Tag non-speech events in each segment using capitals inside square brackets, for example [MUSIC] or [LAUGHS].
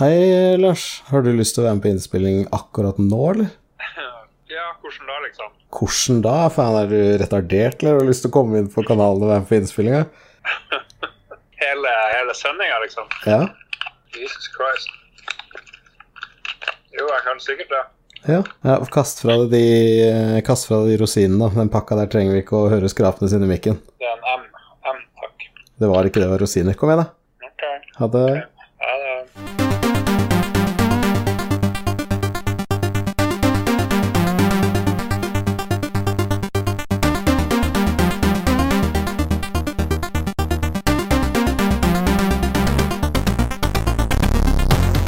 Hei, Lars. Har du lyst til å være med på innspilling akkurat nå, eller? Ja, hvordan da, liksom? Hvordan da? Faen, er du retardert, eller har du lyst til å komme inn på kanalen og være med på innspillinga? Hele, hele sendinga, liksom? Ja? Jesus Christ. Jo, jeg kan sikkert det. Ja. ja kast, fra deg de, eh, kast fra deg de rosinene, da. Den pakka der trenger vi ikke å høre skrapene sine i mikken. Det er en M. M, takk. Det var ikke det, det var rosiner. Kom igjen, da. OK. Ha det. Ja, det er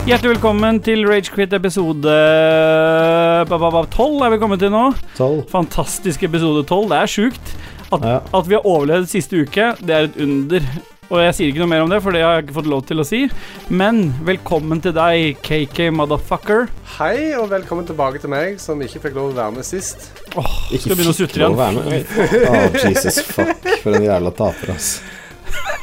Hjertelig velkommen til Ragequit episode eh, ba, ba, ba, 12 er vi kommet til nå. Tolv. Fantastisk episode 12. Det er sjukt. At, Ja. at vi har overlevd siste uke, det er et under. Og jeg sier ikke noe mer om det, for det har jeg ikke fått lov til å si. Men velkommen til deg, KK motherfucker. Hei, og velkommen tilbake til meg, som ikke fikk lov å være med sist. Åh, Ikke skal begynne å fikk sutre lov å igjen. være med. Å, Jesus fuck, for en jævla taper, ass.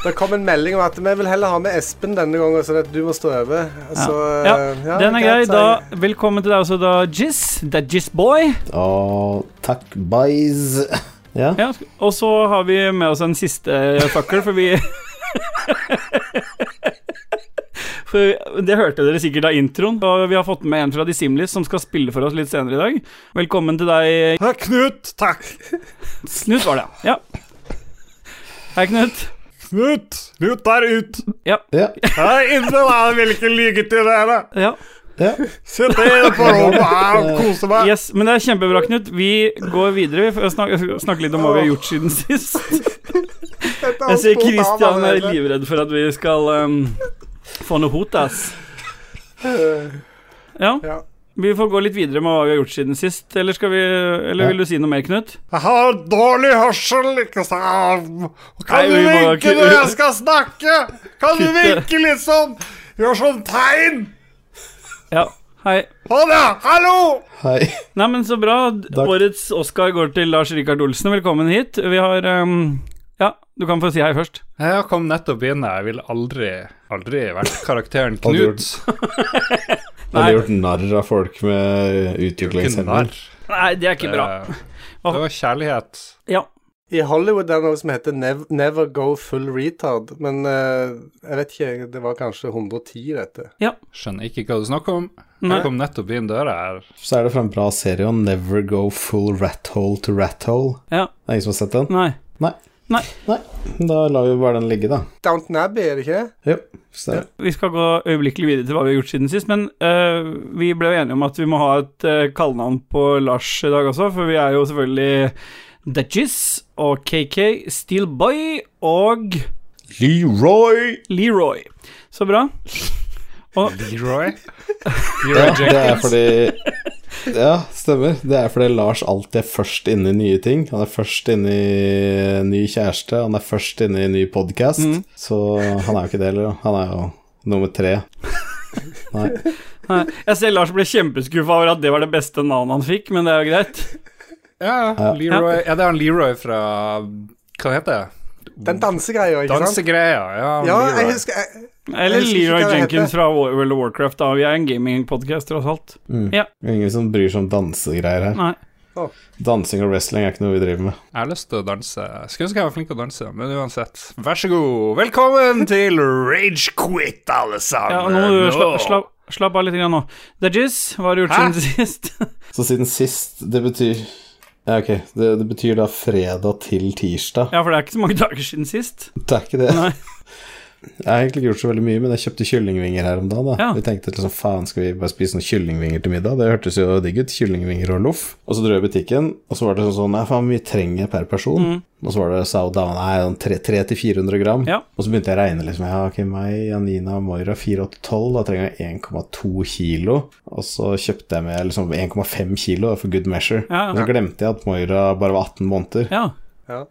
Det kom en melding om at vi vil heller ha med Espen denne gangen, sånn at du må stå over. Så, Ja, eh, ja, Den er grei. greit, Da, sa jeg. velkommen til deg også, da, Jizz. Det er Jizzboy. Å, takk, boys. Ja? Ja, og så har vi med oss en siste eh, fucker, for vi [LAUGHS] For Det hørte dere sikkert av introen. Og vi har fått med en fra Dissimlis som skal spille for oss litt senere i dag. Velkommen til deg, Hei, Knut, takk. Knut, var det. Ja. Hei, Knut. Knut, Knut der ut. Ja. Her inne, da, hvilken lygetid det er, da. Ja. ja. Sitt inne på rommet her og kose meg. Yes, men det er kjempebra, Knut. Vi går videre. Vi får snakke, snakke litt om hva vi har gjort siden sist. Jeg ser Kristian er livredd for at vi skal ehm, få noe hot, ass. Ja. Ja. Vi får gå litt videre med hva vi har gjort siden sist. Eller, skal vi, eller Ja. vil du si noe mer, Knut? Jeg har dårlig hørsel, ikke sant? Nei, Kan du vi må da vinke kutte- når jeg skal snakke? Kan du Kutte. vinke litt sånn? Gjør sånn tegn. Ja. Hei. Ha det! Hallo! Hei. Nei, men så bra. Årets Oscar går til Lars Rikard Olsen. Velkommen hit. Vi har ehm, Ja, du kan få si hei først. Jeg kom nettopp inn. Jeg ville aldri, aldri vært karakteren Hadde gjort- Knut. Har Nei. du gjort narr av folk med Ikke utviklingshemming? narr. Nei, det er ikke Det, bra. det var kjærlighet. Ja. I Hollywood er det noe som heter Nev Never Go Full Retard, men eh, jeg vet ikke, det var kanskje 110 dette. Skjønner ikke hva du snakker om. Nei. Jeg kom nettopp inn døra her. Så er det fra en bra serie om Never Go Full Rat Hole to Rat Hole. Ja. Det er ingen som har sett den? Nei. Nei, da lar vi bare den ligge, da. Downton Abbey, er det ikke? Jo. Så, Vi skal gå øyeblikkelig videre til hva vi har gjort siden sist, men eh, vi ble jo enige om at vi må ha et eh, kallenavn på Lars i dag også, for vi er jo selvfølgelig Dudgies og KK, Steelboy og Leroy! Leroy. Så bra. [LAUGHS] Leroy? Ja, Leroy det er Jenkins. fordi Ja, stemmer. Det er fordi Lars alltid er først inne i nye ting. Han er først inne i ny kjæreste, han er først inne i ny podkast. Så han er jo ikke det, eller? Han er jo nummer tre. Nei. Nei, Jeg ser Lars ble kjempeskuffa over at det var det beste navnet han fikk, men det er jo greit. Ja, Leroy. Ja, det er han Leroy fra Hva heter det? Den dansegreia, ikke sant? Dansegreia. Ja, Ja, Leroy. jeg husker jeg, Eller Jeg husker ikke Leroy hva det Jenkins heter. fra War- World of Warcraft, da. Vi er en gamingpodkast, tross alt. Mm. Ingen som bryr seg om dansegreier her. Nei. Dansing og wrestling er ikke noe vi driver med. Jeg har lyst til å danse. Skulle ønske jeg var flink til å danse, men uansett. Vær så god. Velkommen til Ragequit, alle sammen. Ja, nå må du sla, Nå. slapp- slapp av litt grann nå. Dudgies, hva har du gjort Hæ? siden sist? [LAUGHS] Så siden sist, det betyr Ja, ok, det, det betyr da fredag til tirsdag. Ja, for det er ikke så mange dager siden sist. Det er ikke det. Nei. Jeg har egentlig ikke gjort så veldig mye, men jeg kjøpte kyllingvinger her om dagen. da. Ja. Vi tenkte liksom, faen, skal vi bare spise noen kyllingvinger til middag? Det hørtes jo digg ut. Kyllingvinger og loff. Og så dro jeg i butikken, og så var det sånn sånn Nei, faen, hvor mye trenger jeg per person? Og så var det, sa hun dama, nei, sånn tre- tre til 400 gram. Mm. Ja. Og så begynte jeg å regne liksom, ja, ok, meg, Janina og Moira, 4,8-12, da trenger jeg 1,2 kilo. Og så kjøpte jeg med liksom 1,5 kilo da, for good measure. Ja, ja. Men så glemte jeg at Moira bare var 18 måneder. Ja.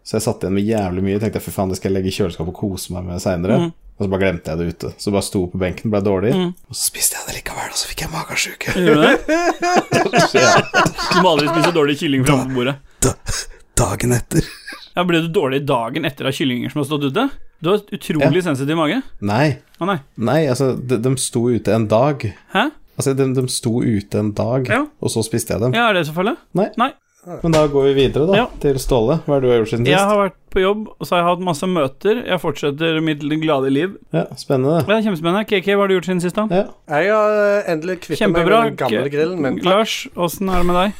Så jeg satt igjen med jævlig mye, tenkte fy faen, det skal jeg legge i kjøleskapet og kose meg med seinere. Mm. Og så bare glemte jeg det ute. Så bare sto på benken, ble dårlig. Og så spiste jeg det likevel, og så fikk jeg magesjuke. [LAUGHS] Gjør du [LAUGHS] det? Du må aldri spise dårlig kylling fra bordet. Dagen etter. Ja, Ble du dårlig dagen etter av kyllinger som har stått ute? Du har utrolig sensitiv mage. Nei, Å nei. nei, altså, de, de sto ute en dag. Hæ? Altså, de, de sto ute en dag, Ja. og så spiste jeg dem. Ja, er det så farlig? Nei. Nei. Men da går vi videre, da, Ja. til Ståle. Hva er det du har gjort siden Jeg sist? har vært på jobb, og så har jeg hatt masse møter. Jeg fortsetter mitt glade liv. Ja, spennende. Det er kjempespennende. KK, hva har du gjort siden sist, da? Ja. Jeg har eh, endelig kvittet meg med Kjempebra. den gamle grillen min. K- Lars, åssen er det med deg?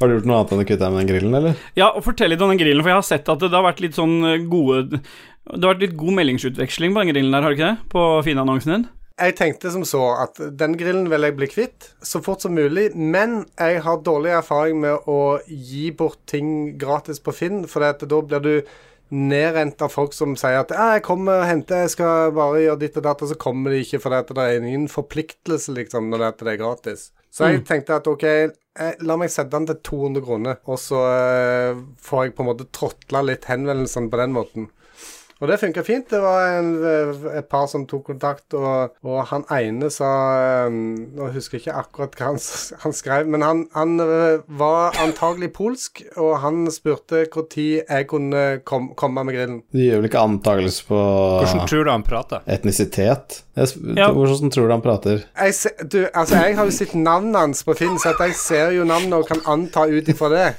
Har du gjort noe annet enn å kvitte deg med den grillen, eller? Ja, og fortell litt om den grillen, for jeg har sett at det, det har vært litt sånn eh, gode Det har vært litt god meldingsutveksling på den grillen der, har det ikke det? På Fine-annonsen din. Jeg tenkte som så at den grillen vil jeg bli kvitt så fort som mulig, men jeg har dårlig erfaring med å gi bort ting gratis på Finn, for da blir du nedrent av folk som sier at «Ja, 'jeg kommer og henter, jeg skal bare gjøre ditt og datt', og så kommer de ikke, for det er ingen forpliktelse liksom, når det er- det er gratis. Så jeg tenkte at OK, eh, la meg sette den til 200 kroner, og så eh, får jeg på en måte tråtla litt henvendelsene på den måten. Og det funka fint. Det var en, eh, et par som tok kontakt, og, og han ene sa eh, Nå husker jeg ikke akkurat hva han, s- han skrev, men han, han eh, var antagelig polsk, og han spurte når jeg kunne kom, komme med grillen. Du gjør vel ikke antakelse på Hvordan tror du han prater? etnisitet? Jeg sp- Ja. Hvordan tror du han prater? Jeg, se, du, altså, jeg har jo sett navnet hans på Finn, så at jeg ser jo navnet og kan anta ut ifra det.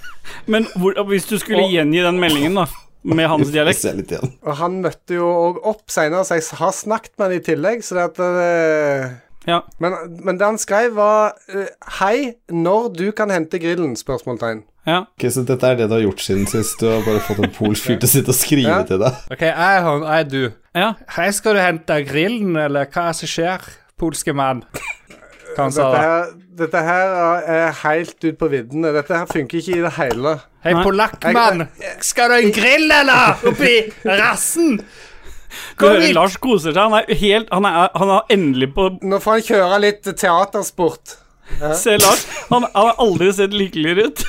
Men hvor, hvis du skulle Og- gjengi den meldingen, da, med hans Jeg Altså, dialekt ser litt igjen. Og han møtte jo òg opp seinere, så jeg s- har snakket med han i tillegg, så det at eh, Ja. men, men det han skrev, var eh, Hei, når du kan hente grillen? spørsmålstegn. ja. Ok, Så dette er det du har gjort siden sist? Du har bare fått en polsk fyr til å sitte og skrive Ja. til deg? Ok, jeg er han, jeg er du. Ja. Hei, skal du hente grillen, eller hva er det som skjer, polske mann? Hva han sa Dette da? her, dette her er- er helt ut på viddene. Dette her funker ikke i det hele. Hei, polakkmann, skal du ha en grill, eller? Oppi rassen? Du Kom hører hit! Lars koser seg. Han er helt Han er, han er endelig på Nå får han kjøre litt teatersport. Se, Lars. Han han har aldri sett lykkeligere ut.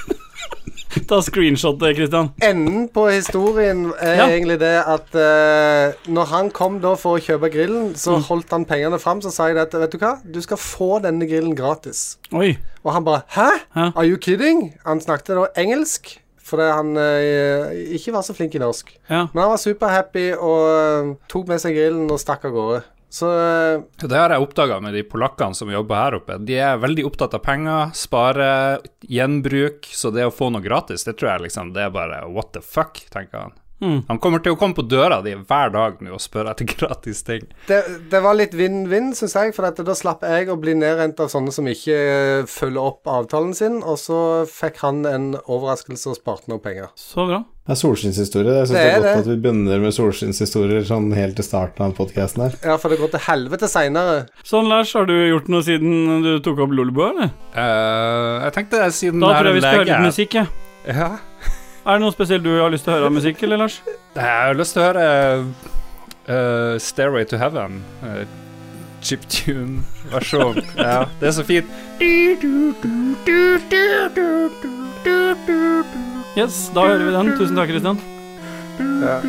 [LAUGHS] Ta screenshot, eh, Christian. Enden på historien er Ja. egentlig det at eh, når han kom da for å kjøpe grillen, Mm. så holdt han pengene fram, så sa jeg det at vet du hva, du skal få denne grillen gratis. Oi. Og han bare Hæ? Hæ? Are you kidding? Han snakket da engelsk, fordi han eh, ikke var så flink i norsk. Ja. Men han var superhappy og eh, tok med seg grillen og stakk av gårde. Så eh, Det har jeg oppdaga med de polakkene som jobber her oppe. De er veldig opptatt av penger, spare, gjenbruk, så det å få noe gratis, det tror jeg liksom Det er bare what the fuck, tenker han. Hmm. Han kommer til å komme på døra di hver dag nå og spørre etter [LAUGHS] gratis ting. det, det var litt vinn-vinn, syns jeg, for at da slapp jeg å bli nedrent av sånne som ikke eh, følger opp avtalen sin, og så fikk han en overraskelse og sparte noe penger. Så bra. Det er solskinnshistorie. Jeg syns Det det, er er godt det. at vi begynner med solskinnshistorier sånn helt til starten av podkasten her. Ja, for det går til helvete seinere. Sånn, Lars, har du gjort noe siden du tok opp Lolebua, eller? Eh, jeg tenkte siden Da jeg tror jeg vi skal er høre litt lege- musikk, jeg. Ja. Er det noe spesielt du har lyst til å høre av musikk, eller, Lars? Jeg har lyst til å høre eh, Stairway to Heaven. Uh, [LAUGHS] Chiptune-versjon. ja, det er så fint. Yes, da hører vi den. Tusen takk, Christian. Ja.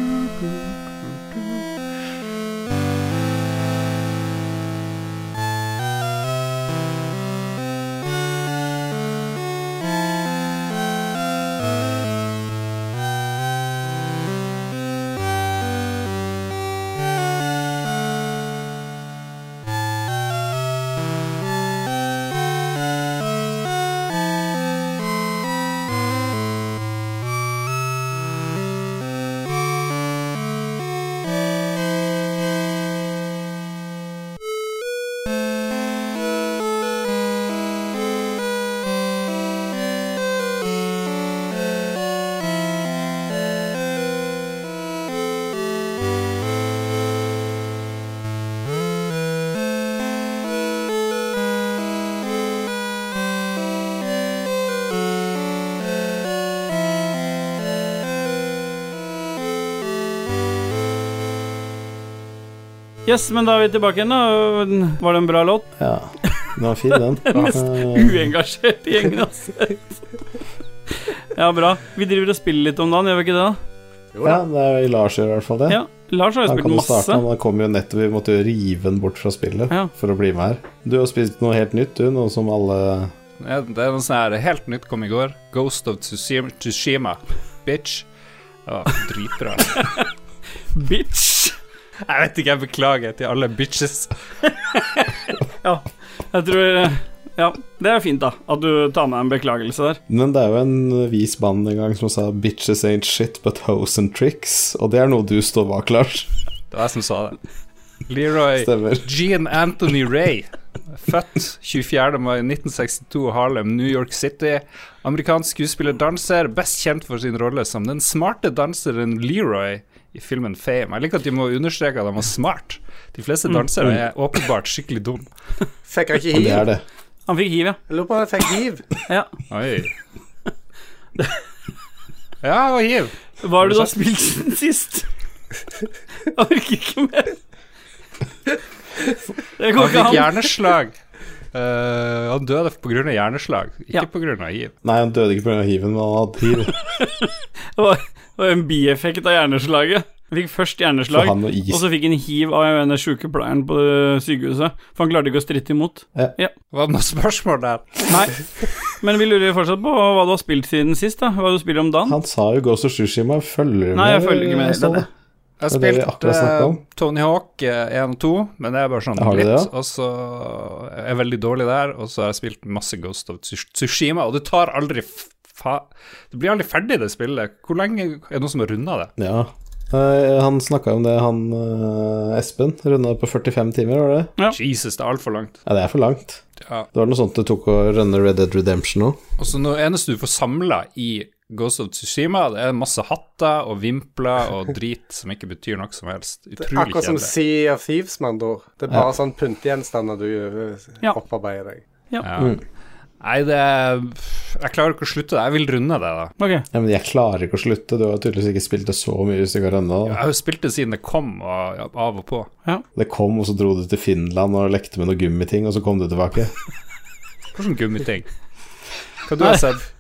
Yes, men da er vi tilbake igjen, da. Var det en bra låt? Ja, den var fin, [LAUGHS] den. Mest Eh, uengasjert i gjengen, altså. Ja, bra. Vi driver og spiller litt om dagen, gjør vi ikke det? da? Ja, det er jo Lars gjør i hvert fall det. Ja. Lars har jo Han kan spilt jo starte, masse. men han kom jo nettopp Vi måtte jo rive den bort fra spillet Ja. for å bli med her. Du har spist noe helt nytt, du, noe som alle Ja, Det er noe sånn her helt nytt kom i går. Ghost of Tsushima, Tsushima bitch. Å, dritbra. Bitch! Jeg vet ikke, jeg beklager til alle bitches. Jeg tror Ja, det er fint, da. At du tar med en beklagelse der. Men det er jo en vis mann en gang som sa 'bitches ain't shit but hoes and tricks', og det er noe du står bak, Lars. Det var jeg som sa det. Leroy Stemmer. Jean Anthony Ray. Født 24. mai 1962 i Harlem, New York City. Amerikansk skuespiller-danser, best kjent for sin rolle som den smarte danseren Leroy i filmen Fame. Jeg liker at de må understreke at han var smart. De fleste dansere er åpenbart skikkelig dum. Fikk jeg ikke Og det hiv? er det. Han fikk hiv, ja. Jeg lurer på om jeg fikk hiv. ja. [LAUGHS] Oi. Ja, og hiv. Hva har du da spilt siden sist? Jeg orker ikke mer. Det går Han ikke fikk an. hjerneslag. [LAUGHS] Eh, han døde pga. hjerneslag, Ja. ikke på grunn pga. hiv. Nei, han døde ikke pga. hiven, men han hadde hiv. Det var det var en bieffekt av hjerneslaget. Han fikk først For hjerneslag, han og og is. så fikk han hiv av denne sykepleieren på eh, sykehuset. For han klarte ikke å stritte imot. Hva med spørsmål der? Nei. Men vi lurer fortsatt på hva du har spilt siden sist, da. Hva du spiller om dagen. Han sa jo 'Ghost of Tsushima'. Følger du Nei, jeg følger ikke med. Ståle? Det er det. Jeg Det er det vi spilte akkurat snakket om. Tony Hawk eh, 1 og 2, men det er bare sånn Har du litt. det, ja? Og så er jeg veldig dårlig der, og så har jeg spilt masse Ghost of Tsush- Tsushima, og det tar aldri f- fa... Det blir aldri ferdig, det spillet. Hvor lenge er det noen som har runda det? Ja. Eh, Han snakka om det, han eh, Espen. Runda på 45 timer, var det? Ja. Jesus, det er altfor langt. Ja, det er for langt. Ja. Det var noe sånt det tok å runde Red Dead Redemption òg. Og så noe eneste du får samla i Ghost of Tsushima, det er masse hatter og vimpler og drit som ikke betyr noe som helst. Utrolig Akkurat som kjedelig. Sea of Thieves, med andre ord. Det er bare sånn pyntegjenstander du eh, Ja. opparbeider deg. Ja. Nei, det er- Jeg klarer ikke å slutte det. Jeg vil runde det, da. Ok. Ja, men jeg klarer ikke å slutte. Du har tydeligvis ikke spilt det så mye hvis du ikke har runda. Jeg da. har jo spilt det siden det kom, og ja, av og på. Det kom, og så dro du til Finland og lekte med noen gummiting, og så kom du tilbake. [LAUGHS] Hvordan gummiting? Hva du har sett?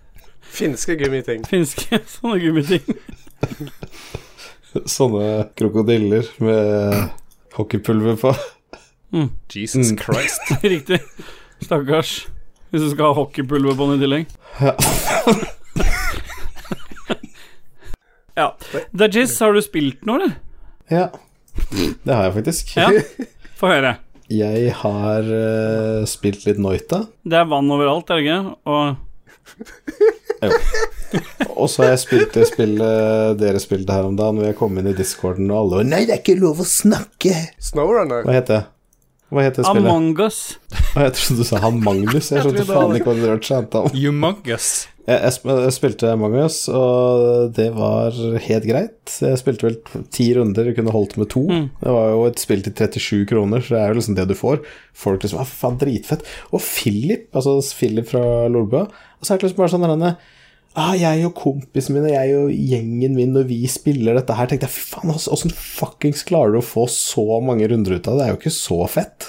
Finske gummiting. Finske [LAUGHS] sånne gummiting. Sånne krokodiller med hockeypulver på. Jesus Mm. Christ. Riktig. Stakkars. Hvis du skal ha hockeypulver på den i tillegg. Ja. [LAUGHS] ja. Dajis, har du spilt noe, eller? Ja, det har jeg faktisk. Ja. Få høre. Jeg har eh, spilt litt Noita, Det er vann overalt, er det ikke? Og og så har jeg spilt det spillet dere spilte her om dagen, hvor jeg kom inn i discorden, og alle var Nei, det er ikke lov å snakke! Snowrunner. Hva heter det? Hva heter spillet? Among us. Å, jeg trodde du sa han Magnus. Jeg skjønte faen ikke hva du rørte seg om. Humongous. Jeg, jeg, sp- jeg spilte Magnus, og det var helt greit. Jeg spilte vel ti runder, jeg kunne holdt med to. Det var jo et spill til 37 kroner, så det er jo liksom det du får. Folk liksom ah, faen, dritfett. Og Philip, altså Philip fra Lolbø, og så er det liksom bare sånn denne ah, jeg og kompisen min og jeg og gjengen min når vi spiller dette her, tenkte jeg fy faen, altså, åssen fuckings klarer du å få så mange runder ut av det? Det er jo ikke så fett.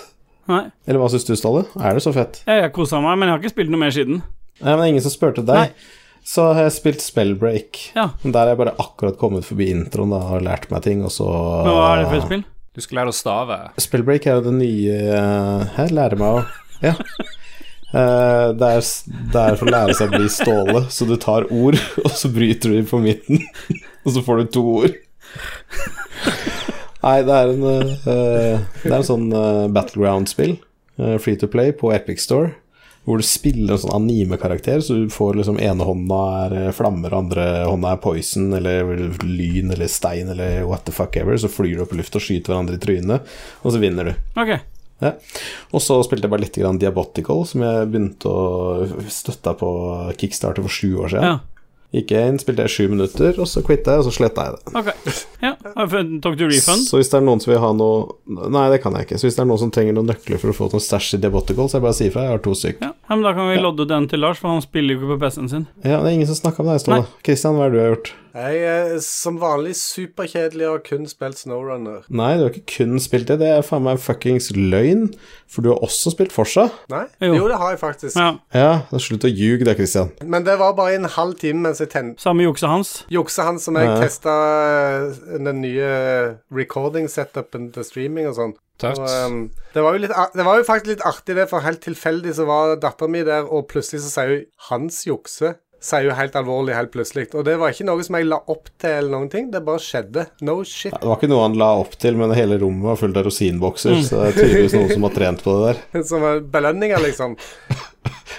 Nei. Eller hva syns du, Ståle? Er det så fett? Jeg, jeg kosa meg, men jeg har ikke spilt noe mer siden. Nei, men det er ingen som spurte deg. Så har jeg spilt Spellbreak. Ja. Men Der har jeg bare akkurat kommet forbi introen da, og lært meg ting, og så Men hva er det for et spill? Du skal lære å stave. Spellbreak er jo det nye eh, Her lærer meg å Ja. Eh, Det er, s- det er for å lære seg å bli Ståle, så du tar ord, [LAUGHS] og så bryter du dem på midten, [LAUGHS] og så får du to ord. Nei, det er en, eh, det er en sånn eh, battleground-spill, eh, free to play, på Epic Store, hvor du spiller en sånn anime-karakter, så du får liksom ene hånda er eh, flammer, og andre hånda er poison, eller lyn, eller stein, eller what the fuck ever, så flyr du opp i lufta og skyter hverandre i trynet, og så vinner du. Ok. Ja. Og så spilte jeg bare litt grann Diabotical, som jeg begynte å støtte på Kickstarter for sju år Ja. siden. Gikk jeg inn, spilte jeg sju minutter, og så quitta jeg, og så sletta jeg det. Ok. Ja. har du- Tok du refund? Så hvis det er noen som vil ha noe Nei, det kan jeg ikke. Så hvis det er noen som trenger noen nøkler for å få noen stæsj i Diabotical, så jeg bare sier fra. Jeg har to stykk. Ja. ja, men da kan vi lodde den til Lars, for han spiller jo ikke på PC-en sin. Ja, det er ingen som snakker om deg, Ståle. Kristian, hva er det du har gjort? Jeg er som vanlig superkjedelig og har kun spilt Snowrunner. Nei, du har ikke kun spilt det. Det er faen meg fuckings løgn, for du har også spilt Forsa. Nei? Jo. Jo, det har jeg faktisk. Ja. Ja, så slutt å ljuge da, Kristian. Men det var bare i en halv time mens jeg ten Samme juksa hans. juksa han som jeg eh, Ja. testa den nye recording-setupen til streaming og sånn. Tøft. Og, um, det, var jo litt, ar- det var jo faktisk litt artig, det, for helt tilfeldig så var dattera mi der, og plutselig så sier hun 'hans jukse'. Sier hun helt alvorlig helt plutselig. Og det var ikke noe som jeg la opp til, eller noen ting. Det bare skjedde. No shit. Det var ikke noe han la opp til, men hele rommet var fullt av rosinbokser, så det er tydeligvis noen som har trent på det der. [LAUGHS] Som var belønninger, liksom.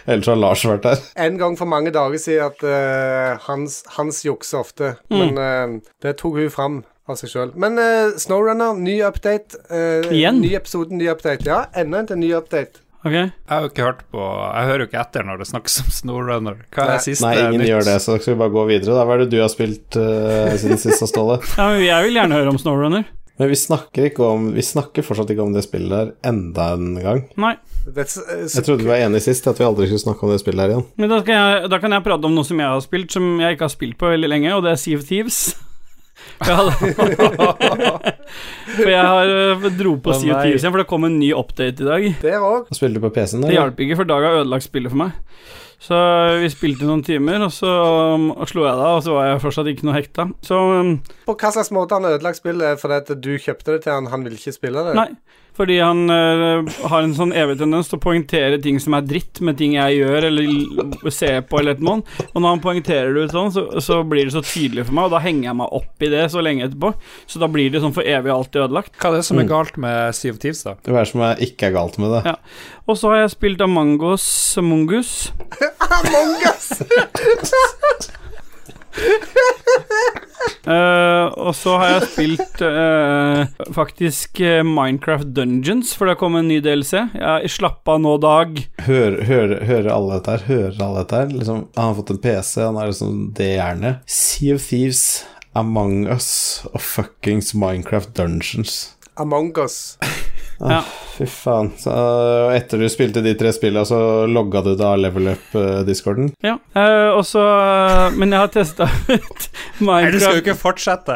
Ellers har Lars vært der. En gang for mange dager siden at eh, hans, hans jukser ofte. Mm. Men eh, det tok hun fram av seg sjøl. Men eh, Snowrunner, ny update. eh, Igjen? Ny episode, ny update. Ja, enda en til ny update. Ok. Jeg har jo ikke hørt på Jeg hører jo ikke etter når det snakkes om Snowrunner. Hva Nei. er siste Nei, ingen nytt? gjør det, så skal vi bare gå videre. Da. Hva er det du har spilt eh, siden sist, da, Ståle? [LAUGHS] Ja, men jeg vil gjerne høre om Snowrunner. Men vi snakker, ikke om, vi snakker fortsatt ikke om det spillet der enda en gang. Nei. That's, eh, så Jeg trodde vi var enige sist at vi aldri skulle snakke om det spillet her igjen. Men da, skal jeg, da kan jeg prate om noe som jeg har spilt, som jeg ikke har spilt på veldig lenge, og det er Sea of Thieves. [LAUGHS] For jeg, hadde, for jeg har eh, dro på Å, Sea of nei. Thieves igjen, for det kom en ny update i dag. Der òg. Og spilte du på PC-en Det der? hjalp ikke, for Dag har ødelagt spillet for meg. Så vi spilte noen timer, og så um, slo jeg deg, og så var jeg fortsatt ikke noe hekta. Så um, På hva slags måte han har ødelagt spillet fordi at du kjøpte det til han, han ville ikke spille det? nei. Fordi han eh, har en sånn evig tendens til å poengtere ting som er dritt, med ting jeg gjør eller l- ser på eller et eller annet. Og når han poengterer det ut sånn, så, så blir det så tydelig for meg, og da henger jeg meg opp i det så lenge etterpå. Så da blir det sånn for evig og alltid ødelagt. Hva er det som Mm. er galt med Sea of Thieves, da? Hva er det som er ikke er galt med det? Ja. Og så har jeg spilt Amangos Mongus. Among us! Eh, og så har jeg spilt eh, faktisk eh, Minecraft Dungeons, for det kom en ny DLC. Jeg slapp av nå, Dag. Hør, hør, hører alle dette her? Hører alle dette her? Liksom, han har fått en PC, han har liksom det jernet. Sea of Thieves, Among Us og fuckings Minecraft Dungeons. Among us. Ah, Ja. Fy faen. Så, øh, etter du spilte de tre spillene, så logga du da level up-discorden? Ja. Eh, og så eh, Men jeg har testa [LAUGHS] ut Nei, du skal jo Minecraft. ikke fortsette.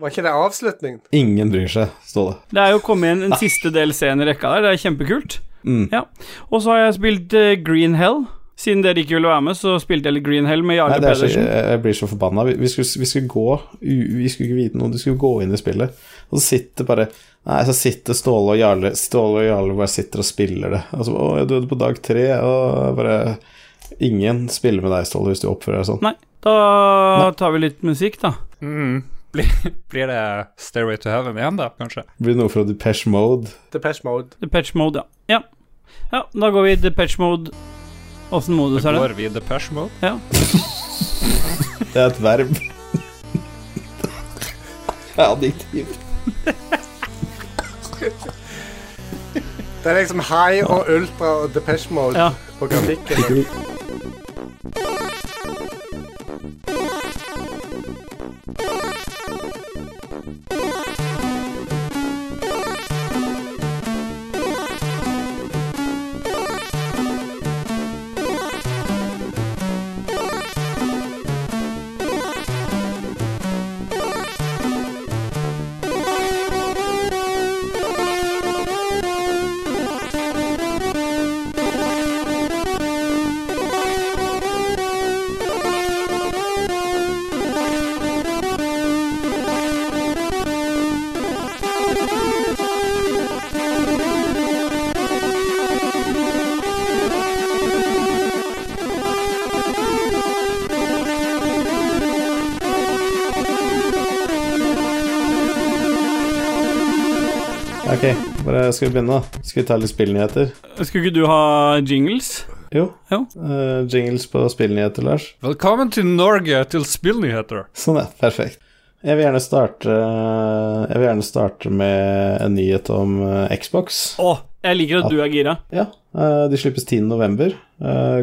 Var ikke det avslutningen? Ingen bryr seg, Ståle. Det er jo kommet Ah. inn en siste DLC i rekka der. Det er kjempekult. Mm. Ja. Og så har jeg spilt eh, Green Hell. Siden dere ikke ville være med, så spilte jeg litt Green Hell med Nei, Jarle det er så, Pedersen. jeg jeg blir så forbanna. Vi, vi, skulle, vi skulle gå u- Vi skulle ikke vite noe, du skulle gå inn i spillet, og så sitter bare Nei, så sitter Ståle og Jarle Ståle og Jarle bare sitter og spiller det. Og så, 'Å, jeg døde på dag tre', og bare Ingen spiller med deg, Ståle, hvis du oppfører deg sånn. Nei, da tar vi litt musikk, da. Mm. Blir, blir det Stairway to Heaven igjen, da, kanskje? Det blir noe fra Depeche Mode. Depeche Mode. Depeche Mode, ja. ja. Ja, da går vi i Depeche Mode. Åssen modus er det? Går vi i Depeche Mode? Det er et verb. [LAUGHS] Det er Adjektiv. Det er liksom high og ultra og Depeche Mode Ja. på grafikken. Ok, bare skal vi begynne, da? Skal vi ta litt spillnyheter? Skulle ikke du ha jingles? Jo. Jo. Eh, jingles på spillnyheter, Lars. Velkommen til Norge, til spillnyheter. Sånn, ja. Perfekt. Jeg vil gjerne starte Jeg vil gjerne starte med en nyhet om eh, Xbox. Å, jeg liker at du er gira. Ja, eh, de slippes 10.11.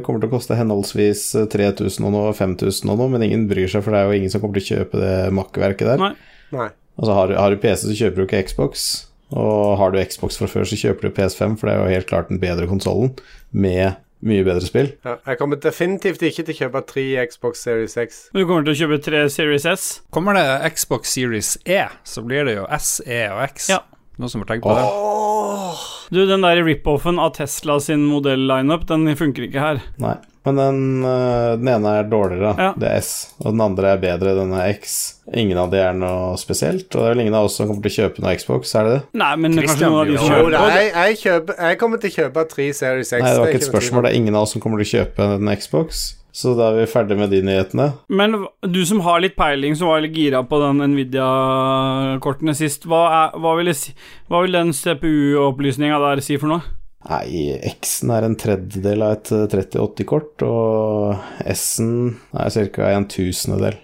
Kommer til å koste henholdsvis 3000 og noe og 5000 og noe, men ingen bryr seg, for det er jo ingen som kommer til å kjøpe det makkverket der. Nei. Nei. Altså, har, du- har du PC, så kjøper du ikke Xbox. Og har du Xbox fra før, så kjøper du PS5, for det er jo helt klart den bedre konsollen med mye bedre spill. Ja, jeg kommer definitivt ikke til å kjøpe tre Xbox Series X. Du kommer til å kjøpe tre Series S. Kommer det Xbox Series E, så blir det jo S, E og X. Ja. Noen som har tenkt på det? Du, den der rip-offen av Tesla sin modell-lineup, den funker ikke her. Nei. Men den, øh, den ene er dårligere, Ja. det er S. Og den andre er bedre, den er X. Ingen av de er noe spesielt. Og det er vel ingen av oss som kommer til å kjøpe noe Xbox, er det det? Nei, men kanskje Christian noen av de blir som jo- Jo, hører da, på jeg, jeg, kjøper, jeg kommer til å kjøpe tre Series X. Nei, det var er ikke et noe tvil om. spørsmål. Det er ingen av oss som kommer til å kjøpe en Xbox. Så da er vi ferdig med de nyhetene. Men hva- du som har litt peiling, som var litt gira på den Nvidia-kortene sist, hva, er, hva, vil, si, hva vil den CPU-opplysninga der si for noe? Nei, X-en er en tredjedel av et eh, 3080-kort, og S-en er ca. en tusendedel.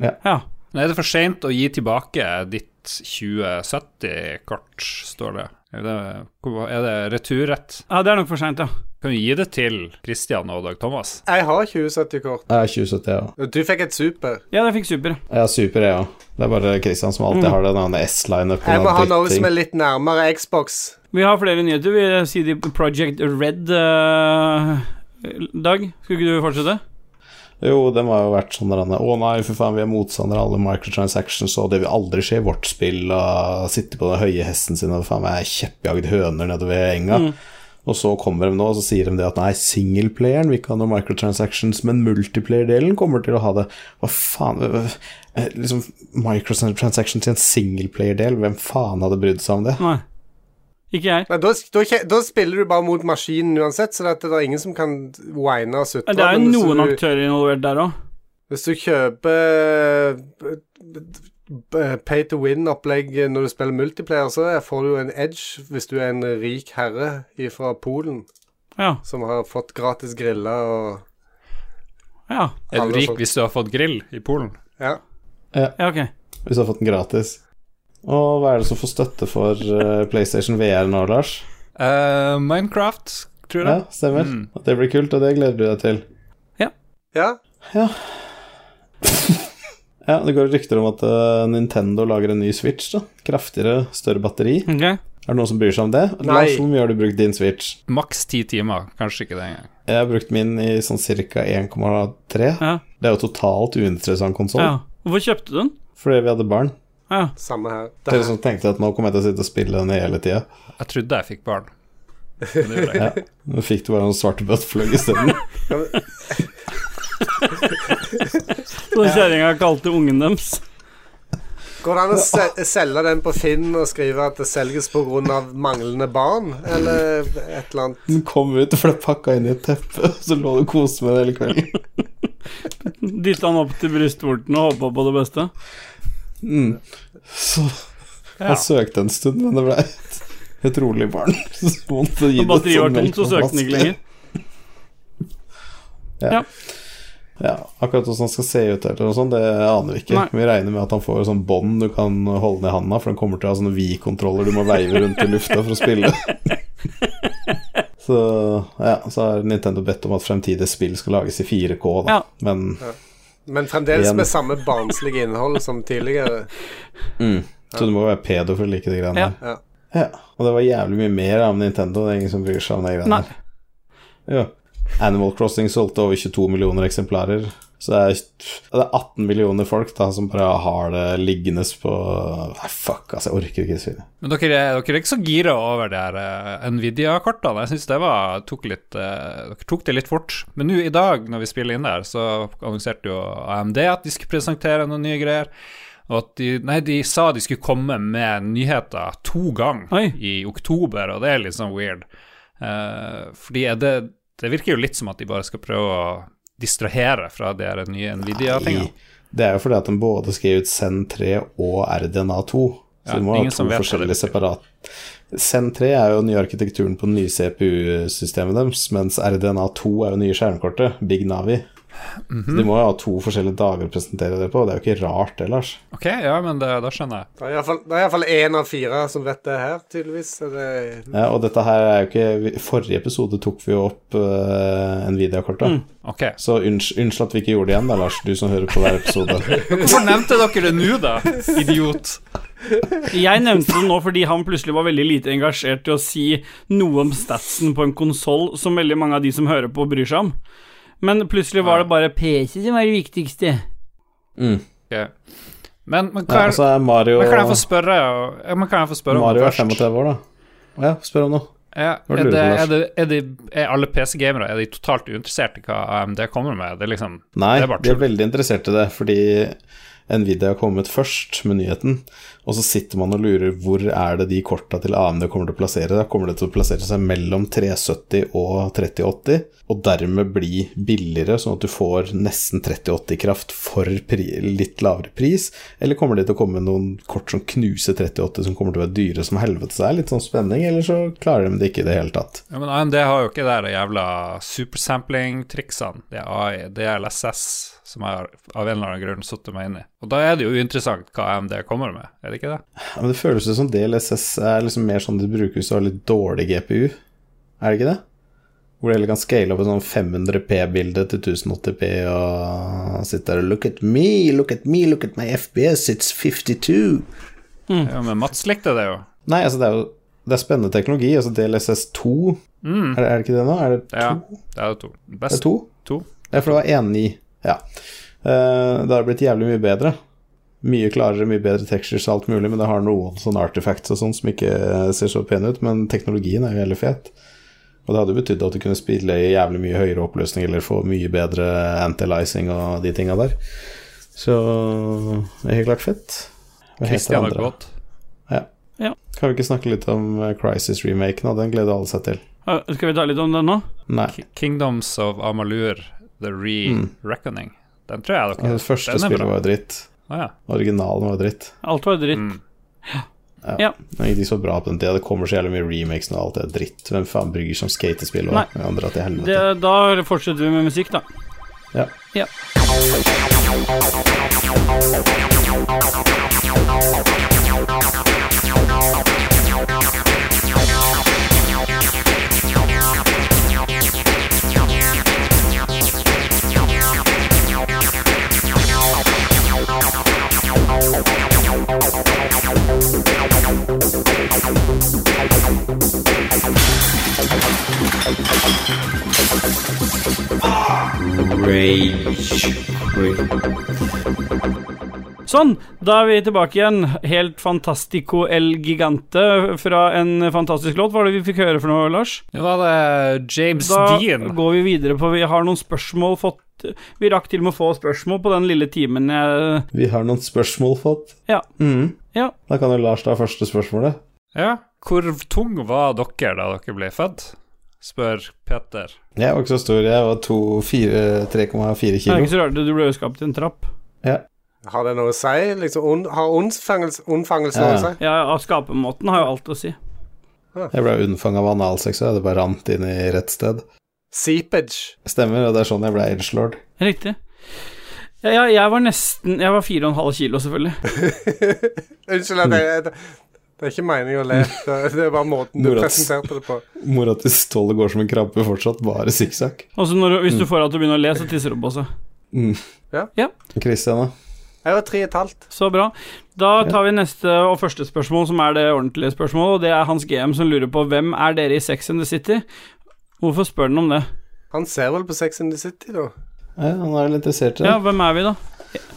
Ja. Men er det for seint å gi tilbake ditt 2070-kort, står det. Er det, hvor- er det returrett? ja, det er nok for seint, ja. Kan du gi det til Christian og Dag Thomas? Jeg har 2070-kort. Jeg har 2070, jeg òg. Du fikk et super. Ja, jeg fikk super. Jeg har Super, jeg òg. Det er bare Christian som alltid har den andre S-lineupen. Mm. Jeg må av ha noe dritting. som er litt nærmere Xbox. Vi har flere nyheter. Vi sier de Project Red eh, Dag, skulle ikke du fortsette? Jo, den har jo vært sånn der, Å nei, for faen, vi er motstandere av alle microtransactions, og det vil aldri skje i vårt spill. Og sitte på den høye hesten sin og faen meg kjeppjagd høner nedover enga. Og så kommer de nå og så sier de det at nei, singleplayeren vil ikke ha noen microtransactions, men multiplayer-delen kommer til å ha det. Hva faen øh, øh, Liksom, microtransactions i en singleplayer-del, hvem faen hadde brydd seg om det? Nei. Ikke jeg. Nei, da, da, kje- da spiller du bare mot maskinen uansett, så det, det er ingen som kan whine og sutre. Det er jo men hvis noen du- aktører involvert der òg. Hvis du kjøper b- b- pay to win-opplegg når du spiller multiplayer, så får du jo en edge hvis du er en rik herre fra Polen Ja. som har fått gratis griller og ja. Er Alle du rik sånn. hvis du har fått grill i Polen? Ja. Ja, ok. Hvis du har fått den gratis. Og hva er det som får støtte for øh, PlayStation VR nå, Lars? Eh, Minecraft, tror jeg. Ja, stemmer. Mm. At Det blir kult, og det gleder du deg til. Ja, Ja, Det går rykter om at eh, Nintendo lager en ny Switch. da Kraftigere, større batteri. Ok. Er det noen som bryr seg om det? Lars, hvor mye har du brukt din Switch? Maks ti timer, kanskje ikke det engang. Jeg har brukt min i sånn ca. 1,3. Ja. Det er jo totalt uinteressant konsoll, ja. Hvorfor kjøpte du den? fordi vi hadde barn. Ja. samme her. Det Dere som tenkte at nå kommer jeg til å sitte og spille den hele tida. Jeg trodde jeg fikk barn. Men det gjorde jeg ikke. Ja. Nå fikk du bare noen svarte buttplug isteden. Så den kjerringa kalte ungen deres. Går det an å se- selge den på Finn og skrive at det selges pga. manglende barn, eller et eller annet? Den kom ut og ble pakka inn i et teppe, så lå du og koste med det hele kvelden. Dytta han opp til brystvorten og håpa på det beste. Mm. Så jeg søkte en stund, men det ble et, et rolig barn. [LAUGHS] Så måtte jeg gi Når det batteriet var sånn tomt, så søkte den ikke lenger. Ja, akkurat hvordan han skal se ut, eller noe sånt, det aner vi ikke. Nei. Vi regner med at han får sånn bånd du kan holde ned handa, for den kommer til å ha sånne vi-kontroller du må veive rundt i lufta for å [LAUGHS] spille. så ja, så har Nintendo bedt om at fremtidige spill skal lages i 4K, da. Ja. Men Men fremdeles Igjen. med samme barnslige innhold som tidligere. så du må være pedo for å like de greiene Ja. der. Ja. Og det var jævlig mye mer om Nintendo, det er ingen som bryr seg om de greiene Nei. der. Ja. Animal Crossing solgte over 22 millioner eksemplarer. Så det er, det er 18 millioner folk da som bare har det liggende på Nei, fuck, altså, jeg orker ikke svine. Men dere, er- dere er ikke så gira over de her eh, Nvidia-kortene. Jeg syns det var, tok litt, eh, dere tok det litt fort. Men nå i dag, når vi spiller inn der, så annonserte jo AMD at de skulle presentere noen nye greier. Og at de, nei, de sa de skulle komme med nyheter to ganger Oi. i oktober, og det er litt sånn weird. Eh, fordi er det, det virker jo litt som at de bare skal prøve å distrahere fra de her nye Nvidia-tingene. Det er jo fordi at den både skrev ut Zen3 og RDNA2. Så Ja, du må ha ingen to som vet hva det forskjellige betyr. separat Zen3 er jo den nye arkitekturen på det nye CPU-systemet deres, mens RDNA2 er jo det nye skjermkortet, Big Navi. Så de må jo ha to forskjellige dager å presentere det på, det er jo ikke rart det, Lars. Ok, ja, men det, da skjønner jeg. Det er iallfall- det er iallfall én av fire som vet det her, tydeligvis. Så det, Ja, og dette her er jo ikke vi- Forrige episode tok vi jo opp uh, Nvidia-kortet. Ok. Så unns- unnskyld at vi ikke gjorde det igjen, da, Lars, du som hører på hver [LAUGHS] episode. Hvorfor nevnte dere det nå, da? Idiot. Jeg nevnte det nå fordi han plutselig var veldig lite engasjert til å si noe om statsen på en konsoll som veldig mange av de som hører på, bryr seg om. Men plutselig var det bare PC som var det viktigste. Mm. Ok. Men, men, hva Ja, altså, er, og så er Mario men kan jeg få spørre, ja, men kan jeg få spørre om Mario det er først? 35 år, da. Ja, spør om noe. Ja, Hva er, lurer du det, på, er, Lars? det, er, de, er alle PC-gamere Er de totalt uinteressert i hva AMD kommer med? Det er liksom Nei, det er bare de er tull. veldig interessert i det, fordi Nvidia har kommet først med nyheten, og så sitter man og lurer hvor er det de korta til AMD kommer til å plassere. Da kommer det til å plassere seg mellom 370 og 3080, og dermed bli billigere, sånn at du får nesten 3080 kraft for pri litt lavere pris. Eller kommer det til å komme noen kort som knuser 3080, som kommer til å være dyre som helvete? Så det er litt sånn spenning, eller så klarer de det ikke i det hele tatt. Ja, men AMD har jo ikke det der jævla supersampling-triksene. Det er AI, det er LSS som har av en eller annen grunn satt meg inn i. Og da er det jo uinteressant hva AMD kommer med, er det ikke det? Ja, men det føles jo som DLSS er liksom mer sånn det bruker hvis du har litt dårlig GPU. Er det ikke det? Hvor du heller kan scale opp et sånn 500P-bilde til 1080P og sitte der og Look at me, look at me, look at my FBS, it's 52. Ja, men Mats likte det jo. Nei, altså det er jo det er spennende teknologi. Altså DLSS2, er, det- er det ikke det nå? Er det to? Ja, det er jo to. Er Best det to? to. Ja, for det var 1.9. Ja. Eh, det har blitt jævlig mye bedre. Mye klarere, mye bedre textures og alt mulig, men det har noen sånne artifacts og sånn som ikke eh, ser så pene ut, men teknologien er jo veldig fet. Og det hadde jo betydd at du kunne spille i jævlig mye høyere oppløsning eller få mye bedre anti-licing og de tinga der. Så det er helt klart fett. Hva heter Christian det har andre? gått. Kan vi ikke snakke litt om eh, Crisis-remaken, da? Den gleder alle seg til. Ja, Skal vi ta litt om den nå? Nei. Ki- Kingdoms of Amalur, The Re-Reckoning. Den tror jeg dere Mm. Det første den er spillet bra. var jo dritt. Å ja. Originalen var jo dritt. Alt var dritt. Mm. Det er ikke så bra på den tida. Det kommer så jævlig mye remakes og alt det er dritt. Hvem faen bryr seg om skatespill og Nei. andre til Det, helvete? da fortsetter vi med musikk, da. Ja. Ja. Sånn, da er vi tilbake igjen. Helt fantastico el gigante fra en fantastisk låt. Hva var det vi fikk høre for noe, Lars? Nå var det James Da Dean. går vi videre på Vi har noen spørsmål fått Vi rakk til og med å få spørsmål på den lille timen jeg Vi har noen spørsmål fått. Ja. Mhm. Ja. Da kan jo Lars ta første spørsmålet. Ja, hvor tung var dere da dere ble født? Spør Peter. Jeg var ikke så stor, jeg var to- fire- 3,4 Det er kilo. ikke så rart, du ble jo skapt i en trapp. Ja. Har det noe å si? Liksom, ond- har ondfangelse, ondfangelse noe å Ja. si? Ja, ja, skapemåten har jo alt å si. Jeg ble unnfanget av analsex, og det bare rant inn i rett sted. Seepage. Stemmer, og det er sånn jeg ble edgelord. Riktig. Ja, ja, jeg var nesten Jeg var fire og en halv kilo, selvfølgelig. Unnskyld at jeg det, det er ikke meningen å le. Det, det er bare måten du Morats. presenterte det på. Mora til Ståle går som en krabbe fortsatt, bare sikksakk. Og så når du- hvis du Mm. får at du begynner å le, så tisser du på seg. Christian, da? Jeg var tre og et halvt. Så bra. Da tar vi neste og første spørsmål, som er det ordentlige spørsmålet. Og det er Hans GM som lurer på hvem er dere i Sex and the City? Hvorfor spør han om det? Han ser vel på Sex in the City, da. Ja, han er vel interessert i det. Ja, hvem er vi, da?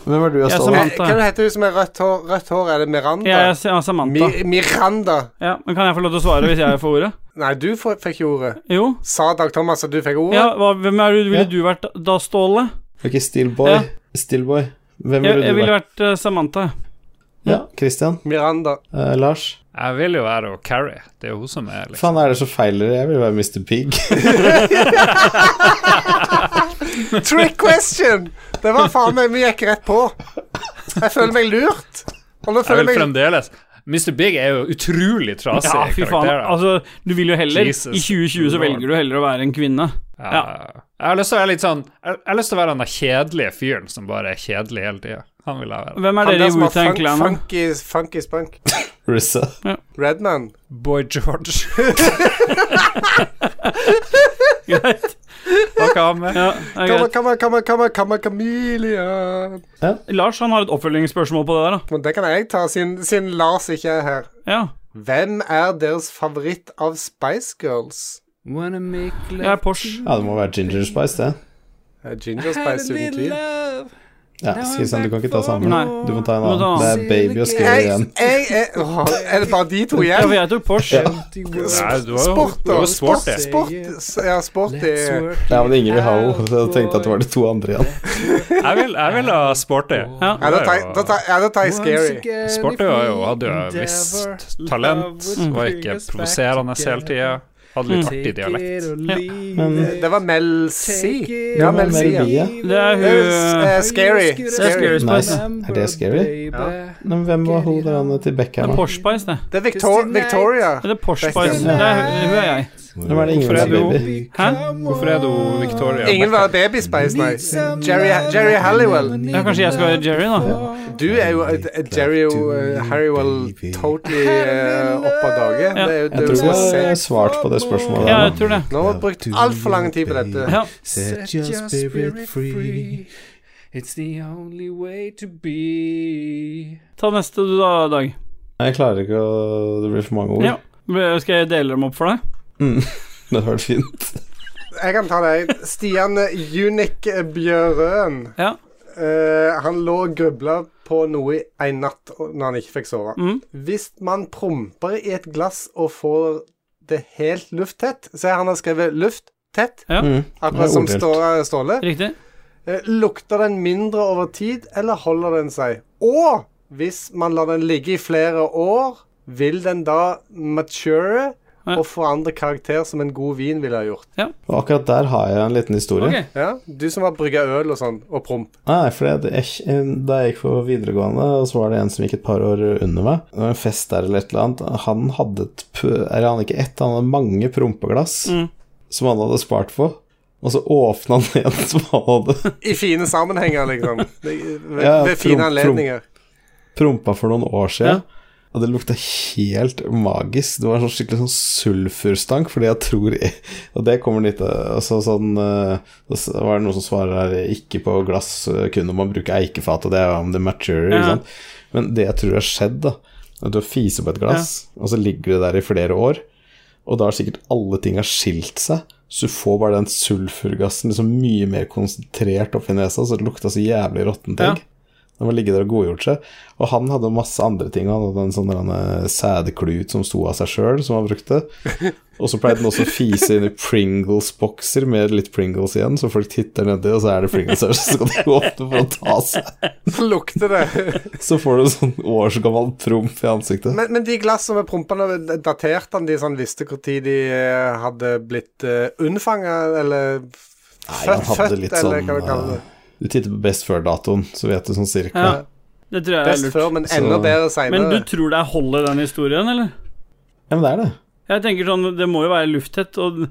Hvem er du, Jeg Ståle? som Hva er- Samantha. heter hun som har rødt hår? Rødt hår, er det Miranda? Jeg er Sa- Samantha. Mi Miranda. Ja, men Kan jeg få lov til å svare hvis jeg får ordet? Nei, du får, fikk jo ordet. Jo. Sa Dag Thomas at du fikk ordet? Ja, hva, hvem er du, ville Ja. du vært da, Ståle? Ok, Steelboy. Ja. Steelboy. Hvem Jeg, ville jeg du ville vært? vært eh, Samantha. Ja, Christian? Miranda. [LAUGHS] Eh, Lars? Jeg vil jo være og Carrie. Det er jo hun som er liksom Faen, er det så feil dere? Jeg vil være Mr. Pig. [LAUGHS] Trick question! Det var faen meg Vi gikk rett på. Jeg føler meg lurt. Og nå Jeg føler vil jeg meg fremdeles Mr. Big er jo utrolig trasig Ja, fy faen. karakter. da. Altså, du vil jo heller Jesus I 2020 så Lord. velger du heller å være en kvinne. ja. Jeg har lyst til å være litt sånn Jeg jeg har lyst til å være den der kjedelige fyren som bare er kjedelig hele tida. Han vil jeg være. Hvem er Han dere der i som har Wu-Tang fun- Clan? da? [LAUGHS] funky, funky spunk. Rissa. Redman. Boy George. Greit. Takk av med. [LAUGHS] Ja, det er Kamma, greit. kamma, kamma, kamma, kamma, kamelian. Lars han har et oppfølgingsspørsmål på det der. da Men det kan jeg ta, siden, siden Lars ikke er her. Ja, Hvem er deres favoritt av Spice Girls? Wanna make Jeg er Porsche. Ja, det må være Ginger Spice, det. Eh, Ginger Spice, uten tvil. Ja, Skristian, du kan ikke ta samme. Nei. Du må ta en Du må ta annen. Det er en annen. baby og scary Jeg, igjen. jeg, jeg, åh, er det bare de to Ja, for igjen? jeg tok Porsche. Nei, du har jo Sport, du da. har jo svart Sport, det. sport, ja, sport i Ja, men ingen vil ha henne, så jeg tenkte at det var de to andre igjen. [LAUGHS] Jeg vil, jeg vil ha sporty. Ja. Ja, da tar jeg- da tar- ja, da tar jeg Scary. Sporty var jo, hadde jo et visst talent, var ikke provoserende hele tida. Hadde litt artig dialekt. Det var Mel C. Ja, Hvem er Mel C. Mel Bia? Ja. Det er Det er, hun eh, Scary. Scary. Scary. Nice. Er det scary? Nei, Men hvem var hun der han til Det Beckham? da? er Porsche Spice, det. Det er Victor Victoria. Er det Porsche Spice? Det Beckham. er, hun er jeg. Hvem er det ingen Hvorfor er som du- baby? Hæ? Hvorfor er du Victoria? Ingen var Baby Spice, nei. Jerry, Jerry Halliwell. Ja, kanskje jeg skal være Jerry, da. Du er jo eh, Jerry eh, Halliwell totally eh, opp av dage. Ja. Det er jo Jeg det tror du ikke jeg har se. svart på det spørsmålet Ja, der jeg nå. tror det. Nå har vi brukt altfor lang tid på dette. Ja. Set your spirit free. It's the only way to be. Ta neste du, da, Dag. Jeg klarer ikke å Det blir for mange ord. Ja. Skal jeg dele dem opp for deg? Det hadde vært fint. Jeg kan ta deg. Stian Unik Bjørøen. Ja. Eh, han lå og grubla på noe i en natt og- når han ikke fikk sove. Mm. Hvis man promper i et glass og får det helt lufttett Se, han har skrevet 'lufttett', Ja. Mm. akkurat Det er som ordentlig. Stå- Ståle. Riktig. Eh, lukter den mindre over tid, eller holder den seg? Og hvis man lar den ligge i flere år, vil den da mature Ja. og forandre karakter som en god vin ville ha gjort? Og akkurat der har jeg en liten historie. Ok. Ja, Du som har brygga øl og sånn, og promp. Nei, for det, jeg, da jeg gikk på videregående, og så var det en som gikk et par år under meg, det var en fest der eller et eller annet, han hadde et, p- eller han hadde ikke ett, han hadde mange prompeglass Mm. som han hadde spart på, og så åpna han [LAUGHS] en som han hadde I fine [LAUGHS] sammenhenger, liksom. Det, ved, Ja, ved fine promp, anledninger. prompa for noen år siden. Og det lukta helt magisk. Det var en sånn skikkelig sånn sulfurstank, fordi jeg tror Og det kommer litt eh, altså sånn eh, Så var det noen som svarer her ikke på glass, eh, kun om man bruker eikefat, og det er om det maturer, Ja. ikke sant. Men det jeg tror har skjedd, da, er at du har fiset på et glass, og så ligger det der i flere år, og da har sikkert alle ting har skilt seg. Så du får bare den sulfurgassen liksom mye mer konsentrert oppi nesa, så det lukta så jævlig råttent egg. Den var ligget der og godgjort seg. Og han hadde masse andre ting. Han hadde en sånn der, eh, sædklut som sto av seg sjøl, som han [LAUGHS] brukte. Og så pleide den også å fise inn i Pringles-bokser med litt Pringles igjen, så folk titter nedi, og så er det Pringles her, så skal de åpne for å ta seg. Lukter det. Så får du en sånn årsgammel trumf i ansiktet. Men, men de glassene med prompene, daterte han de sånn visste når de eh, hadde blitt uh, unnfanga, eller f- Nei, han født, hadde født, litt eller sånn hva du kaller det. eh, Du titter på best før-datoen, så vet du sånn cirka. Ja. Det tror jeg er Best lurt. før, men Så- enda bedre seinere. Men du tror det er hold i den historien, eller? Ja, men det er det. Jeg tenker sånn, det må jo være lufttett, og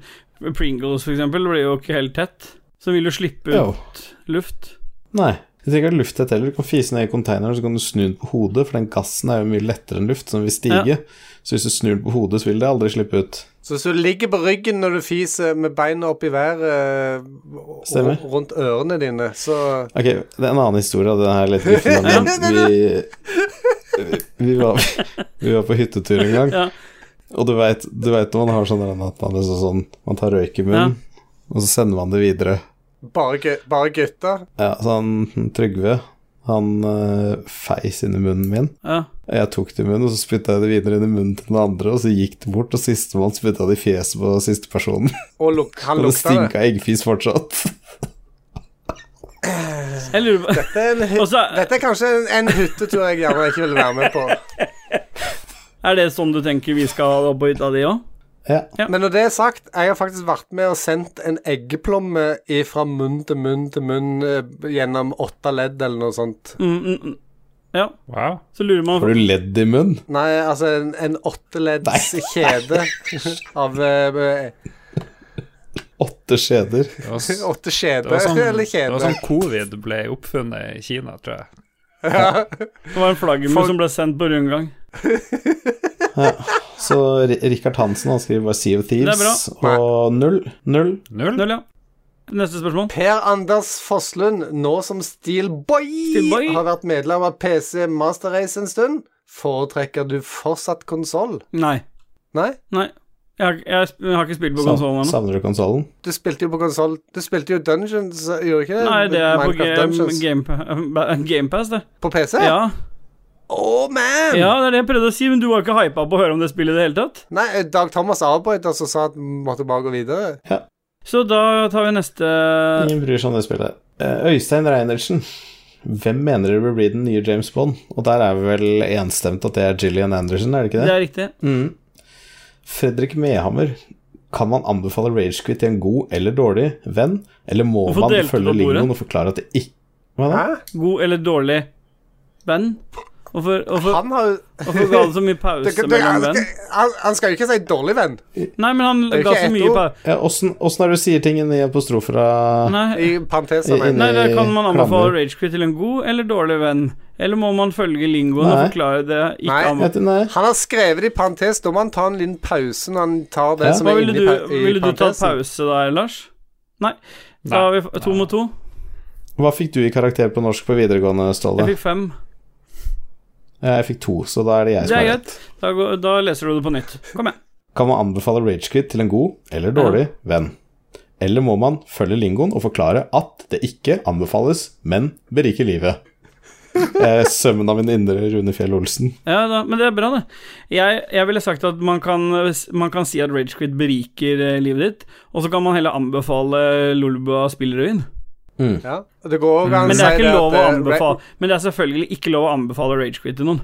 Pringles for eksempel blir jo ikke helt tett. Så vil du slippe Jo. ut luft. Nei. Du trenger ikke ha lufttett heller. Du kan fise ned i containeren, så kan du snu den på hodet, for den gassen er jo mye lettere enn luft, så den vil stige. Så hvis du snur den på hodet, så vil det aldri slippe ut. Så hvis du ligger på ryggen når du fiser med beina opp i været og- Stemmer. og rundt ørene dine, så Ok, det er en annen historie, og den her er litt guffen, men vi, vi, var, vi var på hyttetur en gang, Ja. og du veit du vet når man har sånn der at man, liksom sånn, man tar røyk i munnen, og så sender man det videre. bare, gu- bare gutter. Ja, så han Trygve, han eh, feis inn i munnen min. Ja. Og Jeg tok det i munnen, og så spytta jeg det videre inn i munnen til den andre, og så gikk det bort, og sistemann spytta det i fjeset på siste personen. Og luk, han Og det lukta det. stinka eggfis fortsatt. [LAUGHS] Jeg lurer på [LAUGHS] Det er en hy- Og så- Dette er kanskje en, en hyttetur jeg gjerne ikke ville være med på. Er det sånn du tenker vi skal ha det på hytta di òg? Ja. Men når det er sagt, jeg har faktisk vært med og sendt en eggeplomme fra munn til munn til munn eh, gjennom åtte ledd eller noe sånt. Mm, mm, mm. Ja, Wow. så lurer man Har du ledd i munnen? Nei, altså en, en åtteledds kjede av eh, Åtte skjeder. Det var, s- Åtte det var, skjeder, sånn, eller det var kjeder. sånn covid ble oppfunnet i Kina, tror jeg. Det var en flaggermus Folk- som ble sendt på rundgang. Så Ri- Rikard Hansen han skriver bare Sea of Thieves Det er bra. og null. Null. Null? Null, ja. Neste spørsmål. Per Anders Fosslund, nå som Steelboy, Steelboy. har vært medlem av PC Master Race en stund, foretrekker du fortsatt konsoll? Nei. Nei? Nei. Jeg har, jeg, sp- jeg har ikke spilt på konsollen Savner, ennå. savner du konsollen? Du spilte jo på konsoll Du spilte jo Dungeons, gjorde du ikke det? Nei, det er på Minecraft Dungeons. Gamepass, game Pass, det. På PC? Ja. Oh, man! ja, det er det jeg prøvde å si, men du var ikke hypa på å høre om det spillet i det hele tatt. Nei, eh, Dag Thomas avbrøt oss og sa at vi måtte bare gå videre. Så da tar vi neste Ingen bryr seg om det spillet. Eh, Øystein Reinertsen. Hvem mener dere bør bli den nye James Bond? Og der er vi vel enstemt at det er Gillian Anderson, er det ikke Det det? er riktig. Mm. Fredrik Mehammer. Kan man anbefale Ragequit til en god eller dårlig venn, eller må Hvorfor man delte du følge opp ordet? lingoen og forklare at det ikke Hva da? Hæ? God eller dårlig venn? Hvorfor, hvorfor, Han har jo hvorfor ga du så mye [LAUGHS] Det- pause det- mellom han, venn? han, han skal jo ikke si dårlig venn. Nei, men han Det er jo ga ikke så ett mye ord. pause. Ja, Åssen åssen er det du sier ting i apostrofer av Nei, I eh, I- parenteser, men inni- nei, da kan man klammer. anbefale Ragequit til en god eller dårlig venn. Eller må man følge lingoen og Nei. forklare det ikke Nei. anbe- Vet du, Nei. han har skrevet det i parentes. Da må han ta en liten pause når han tar det Ja. som Hva er ville inni du, pa- i ville du tatt parentesen. pause der, Lars? Nei. Da Nei. har vi f- to mot to. Hva fikk du i karakter på norsk på videregående, Ståle? Jeg fikk fem. Ja, Jeg fikk to, så da er det jeg Det som er har rett. greit. Da, går, da leser du det på nytt. Kom igjen. Kan man anbefale Ragequit til en god eller dårlig venn? Eller må man følge lingoen og forklare at det ikke anbefales, men beriker livet? Eh, Sømmen av min indre Rune Fjell Olsen. Ja, da, men det er bra, det. Jeg, jeg ville sagt at man kan, man kan si at Ragequit beriker eh, livet ditt, og så kan man heller anbefale eh, Lolbua spillrevyen. Ja. Og det går også an å Mm. Men det si er ikke at, lov å eh, anbefale Men det er selvfølgelig ikke lov å anbefale Ragequit til noen.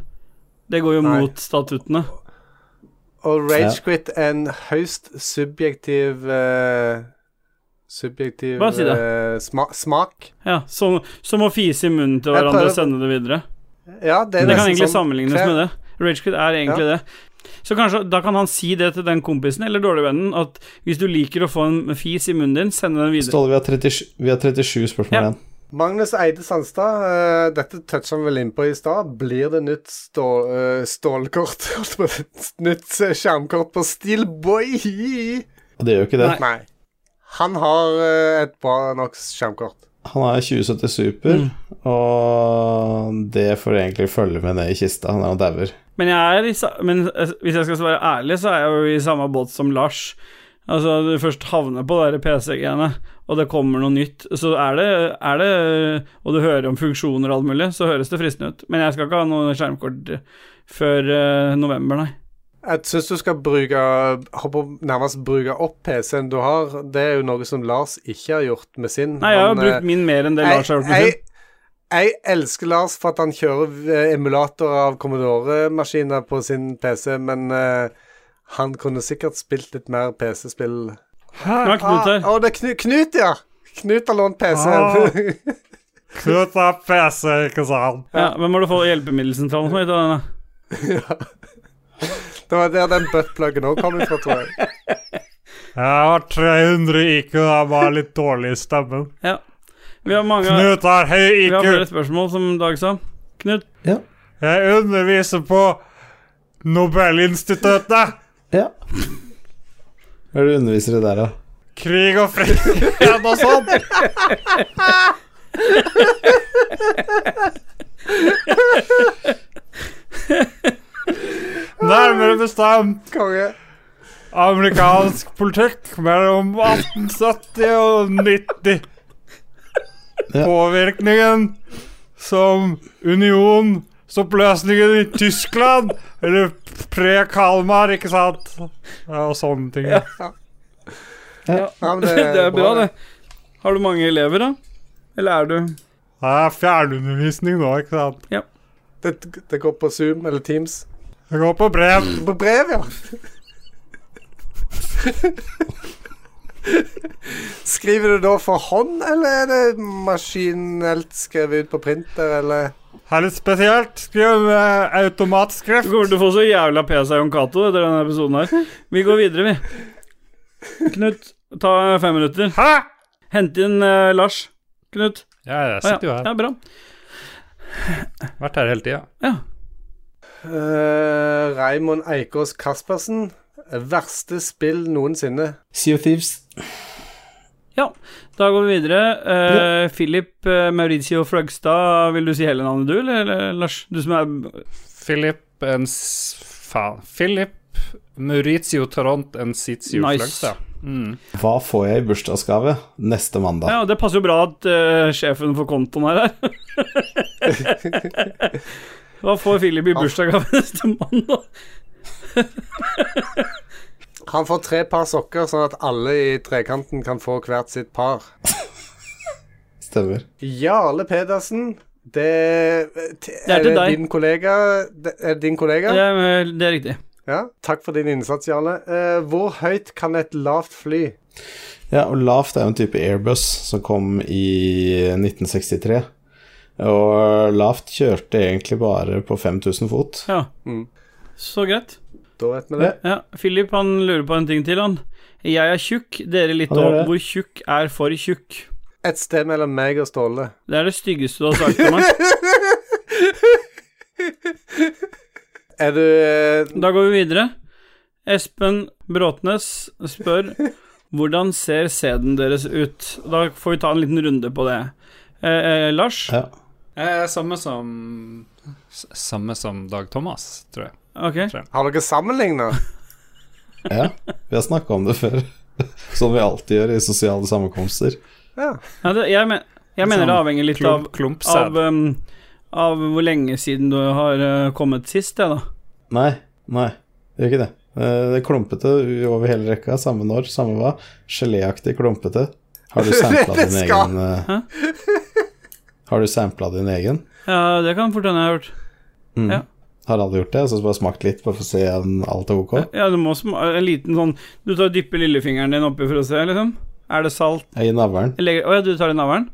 Det går jo Nei. mot statuttene. Ra og ragequit er en høyst subjektiv eh, Subjektiv Bare si det. eh, sma smak. Ja, som, som å fise i munnen til Jeg hverandre prøver- og sende det videre. Ja, det er Det kan nesten egentlig sånn- sammenlignes med det. Ragequit er egentlig det. Så kanskje da kan han si det til den kompisen eller dårligvennen, at hvis du liker å få en fis i munnen din, send den videre. Ståle, vi har 37, vi har 37 spørsmål Ja. igjen. Magnus Eide Sandstad, eh, dette toucha han vel innpå i stad. Blir det nytt stå, eh, stålkort? [LAUGHS] holdt på å si. nytt eh, skjermkort på Steelboy? Og det gjør jo ikke det. Nei. Han har eh, et bra nok skjermkort. Han er 2070 Super, og det får egentlig følge med ned i kista. Han er jo dauer. Men, jeg er i, sa- men eh, hvis jeg skal være ærlig, så er jeg jo i samme båt som Lars. Altså, du først havner på det der PC-greiene, og det kommer noe nytt, så er det, er det Og du hører om funksjoner og alt mulig, så høres det fristende ut. Men jeg skal ikke ha noe skjermkort før eh, november, nei. Jeg syns du skal bruke håper, nærmest bruke opp PC-en du har. Det er jo noe som Lars ikke har gjort med sin. Nei, jeg har jo Han, eh, brukt min mer enn det Lars har gjort med jeg, sin. jeg elsker Lars for at han kjører eh, emulator av Commodore-maskiner på sin PC, men eh, han kunne sikkert spilt litt mer PC-spill. Nå er Knut her. Å, det er Knu, Knut, ja! Knut har lånt Ah. PC-en. Knut har PC, ikke sant? Ja, men må du få hjelpemiddelsentralen som heter den, da? [LAUGHS] det var der den buttpluggen òg kom ifra, tror [LAUGHS] jeg. Jeg har 300 IQ, jeg er bare litt dårlig i stemmen. Ja. Vi har mange Knut har høy Vi har flere IQ. spørsmål, som Dag sa. Knut, Jeg underviser på Nobelinstituttet. Ja. Hva er det du underviser i der, da? Krig og fred [LAUGHS] og noe sånt. Nærmere bestemt Konge. amerikansk politikk mellom 1870 og 90. Ja. Påvirkningen som unionsoppløsningen i Tyskland, eller pre-Kalmar, ikke sant? Ja, og sånne ting. Ja, men [LAUGHS] det er bra, det. Har du mange elever, da? Eller er du Det er fjernundervisning nå, ikke sant? det. Det går på Zoom eller Teams. Det går på brev. På brev, ja. Skriver du da for hånd, eller er det maskinelt skrevet ut på printer, eller Her er litt spesielt. Skriv Du med automatskrift. kommer til å få så jævla pes av Jon Cato etter denne episoden her. Vi går videre, vi. Knut, ta fem minutter. Hæ? Hent inn eh, Lars. Knut. Ja, Å, jeg sitter jo ja. her. ja, bra. Vært her hele tida. Ja. Eh, Raymond Eikås Kaspersen. Verste spill noensinne. Sea of Thieves. Da går vi videre. Eh, Philip eh, Mauricio Fløgstad, vil du si hele navnet du, eller, eller Lars? Du som er Philip en s- Faen. Philip Jepp. Maurizio Tarant and Sizio Nice. Fløgstad. Mm. Hva får jeg i bursdagsgave neste mandag? Ja, det passer jo bra at eh, sjefen for kontoen her [LAUGHS] er Hva får Philip i bursdagsgave neste mandag? Han får tre par sokker, sånn at alle i trekanten kan få hvert sitt par. Stemmer. Jarle Pedersen, det eh, er Er til det deg. din kollega? Det, er det din kollega? Det, er- eh, det er riktig. Ja, Takk for din innsats, Jarle. Eh, hvor høyt kan et lavt fly? Ja, og lavt er jo en type airbus som kom i 1963. Og lavt kjørte egentlig bare på 5000 fot. Ja. Mm. Så greit. Da vet vi det. Ja, Philip han lurer på en ting til, han. Jeg er tjukk, dere litt Han er over det. hvor tjukk er for tjukk. Et sted mellom meg og Ståle. Det er det styggeste du har sagt til [LAUGHS] meg. Er du eh, Da går vi videre. Espen Bråtnes spør hvordan ser sæden deres ut? Da får vi ta en liten runde på det. Eh, eh, Lars, Ja. Eh, samme som s- Samme som Dag Thomas, tror jeg. ok. Har dere sammenligna? ja. Vi har snakka om det før. [LAUGHS] Som vi alltid gjør i sosiale sammenkomster. Ja. Ja, det, jeg, men, jeg mener det Sånn avhenger litt av, Klump, klumpsæd. av, um, av hvor lenge siden du har eh, kommet sist, jeg, da. Nei, nei, det gjør ikke det. Eh, Det er klumpete over hele rekka, samme når, samme hva. Geléaktig klumpete. Har du sampla Det din skal- egen eh, Hæ? Har du sampla din egen? Ja, det kan fort hende jeg har hørt. Mm. Ja. Har alle gjort det? Så bare smakt litt, bare for å se om alt er ok? Ja, du må som en liten sånn Du tar og dypper lillefingeren din oppi for å se, liksom. Er det salt? I navlen. Jeg legger- Å ja, du tar det i navlen?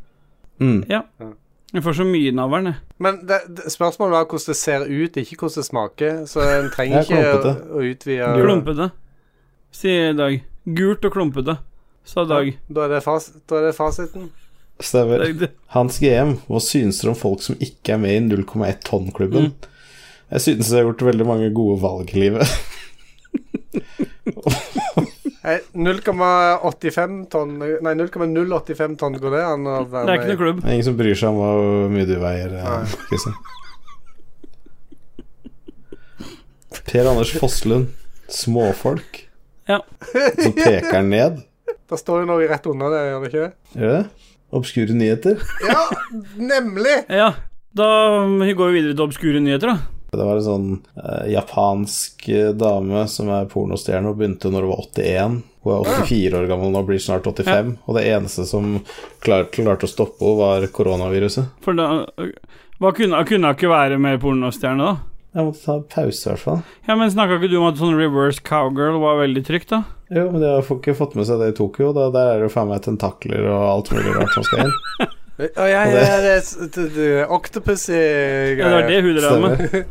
Mm. Jeg får så mye i navlen, jeg. Men det, det, spørsmålet var hvordan det ser ut, ikke hvordan det smaker. Så en Det trenger er ikke å, klumpete. å utvide Klumpete, sier Dag. Gult og klumpete, sa Dag. Da er det, fas, da er det fasiten. Stemmer. Dag, det- Hans GM, hva synes dere om folk som ikke er med i 0,1 tonn-klubben? Mm. Jeg synes jeg har gjort veldig mange gode valg i livet. Eh, 0,85 tonn Nei, 0,085 tonn går det an å Det være er ikke noe klubb. Det er ingen som bryr seg om hvor mye du veier, eh, Nei. Kristian. Per Anders Fosslund, småfolk. Ja. Så peker han ned. Det står jo noe rett under det, gjør det ikke det? Gjør det? Obskure nyheter. Ja, nemlig! Ja, da går vi videre til obskure nyheter, da. Det var en sånn eh, japansk eh, dame som er pornostjerne og begynte når hun var 81. Hun er 84 år gammel nå, blir snart 85. Og det eneste som klar, klarte å stoppe henne, var koronaviruset. For da hva kunne, kunne jeg ikke være mer pornostjerne, da? Jeg måtte ta pause, i hvert fall. Ja, men Snakka ikke du om at sånn reverse cowgirl var veldig trygt, da? Jo, men de har folk ikke fått med seg det i Tokyo. Da, der er det jo faen meg tentakler og alt mulig rart som skal inn. Å, ja, ja, ja, det er eh, s- det, det, er octopus i Ja, det var det hun drev med. Stemmer.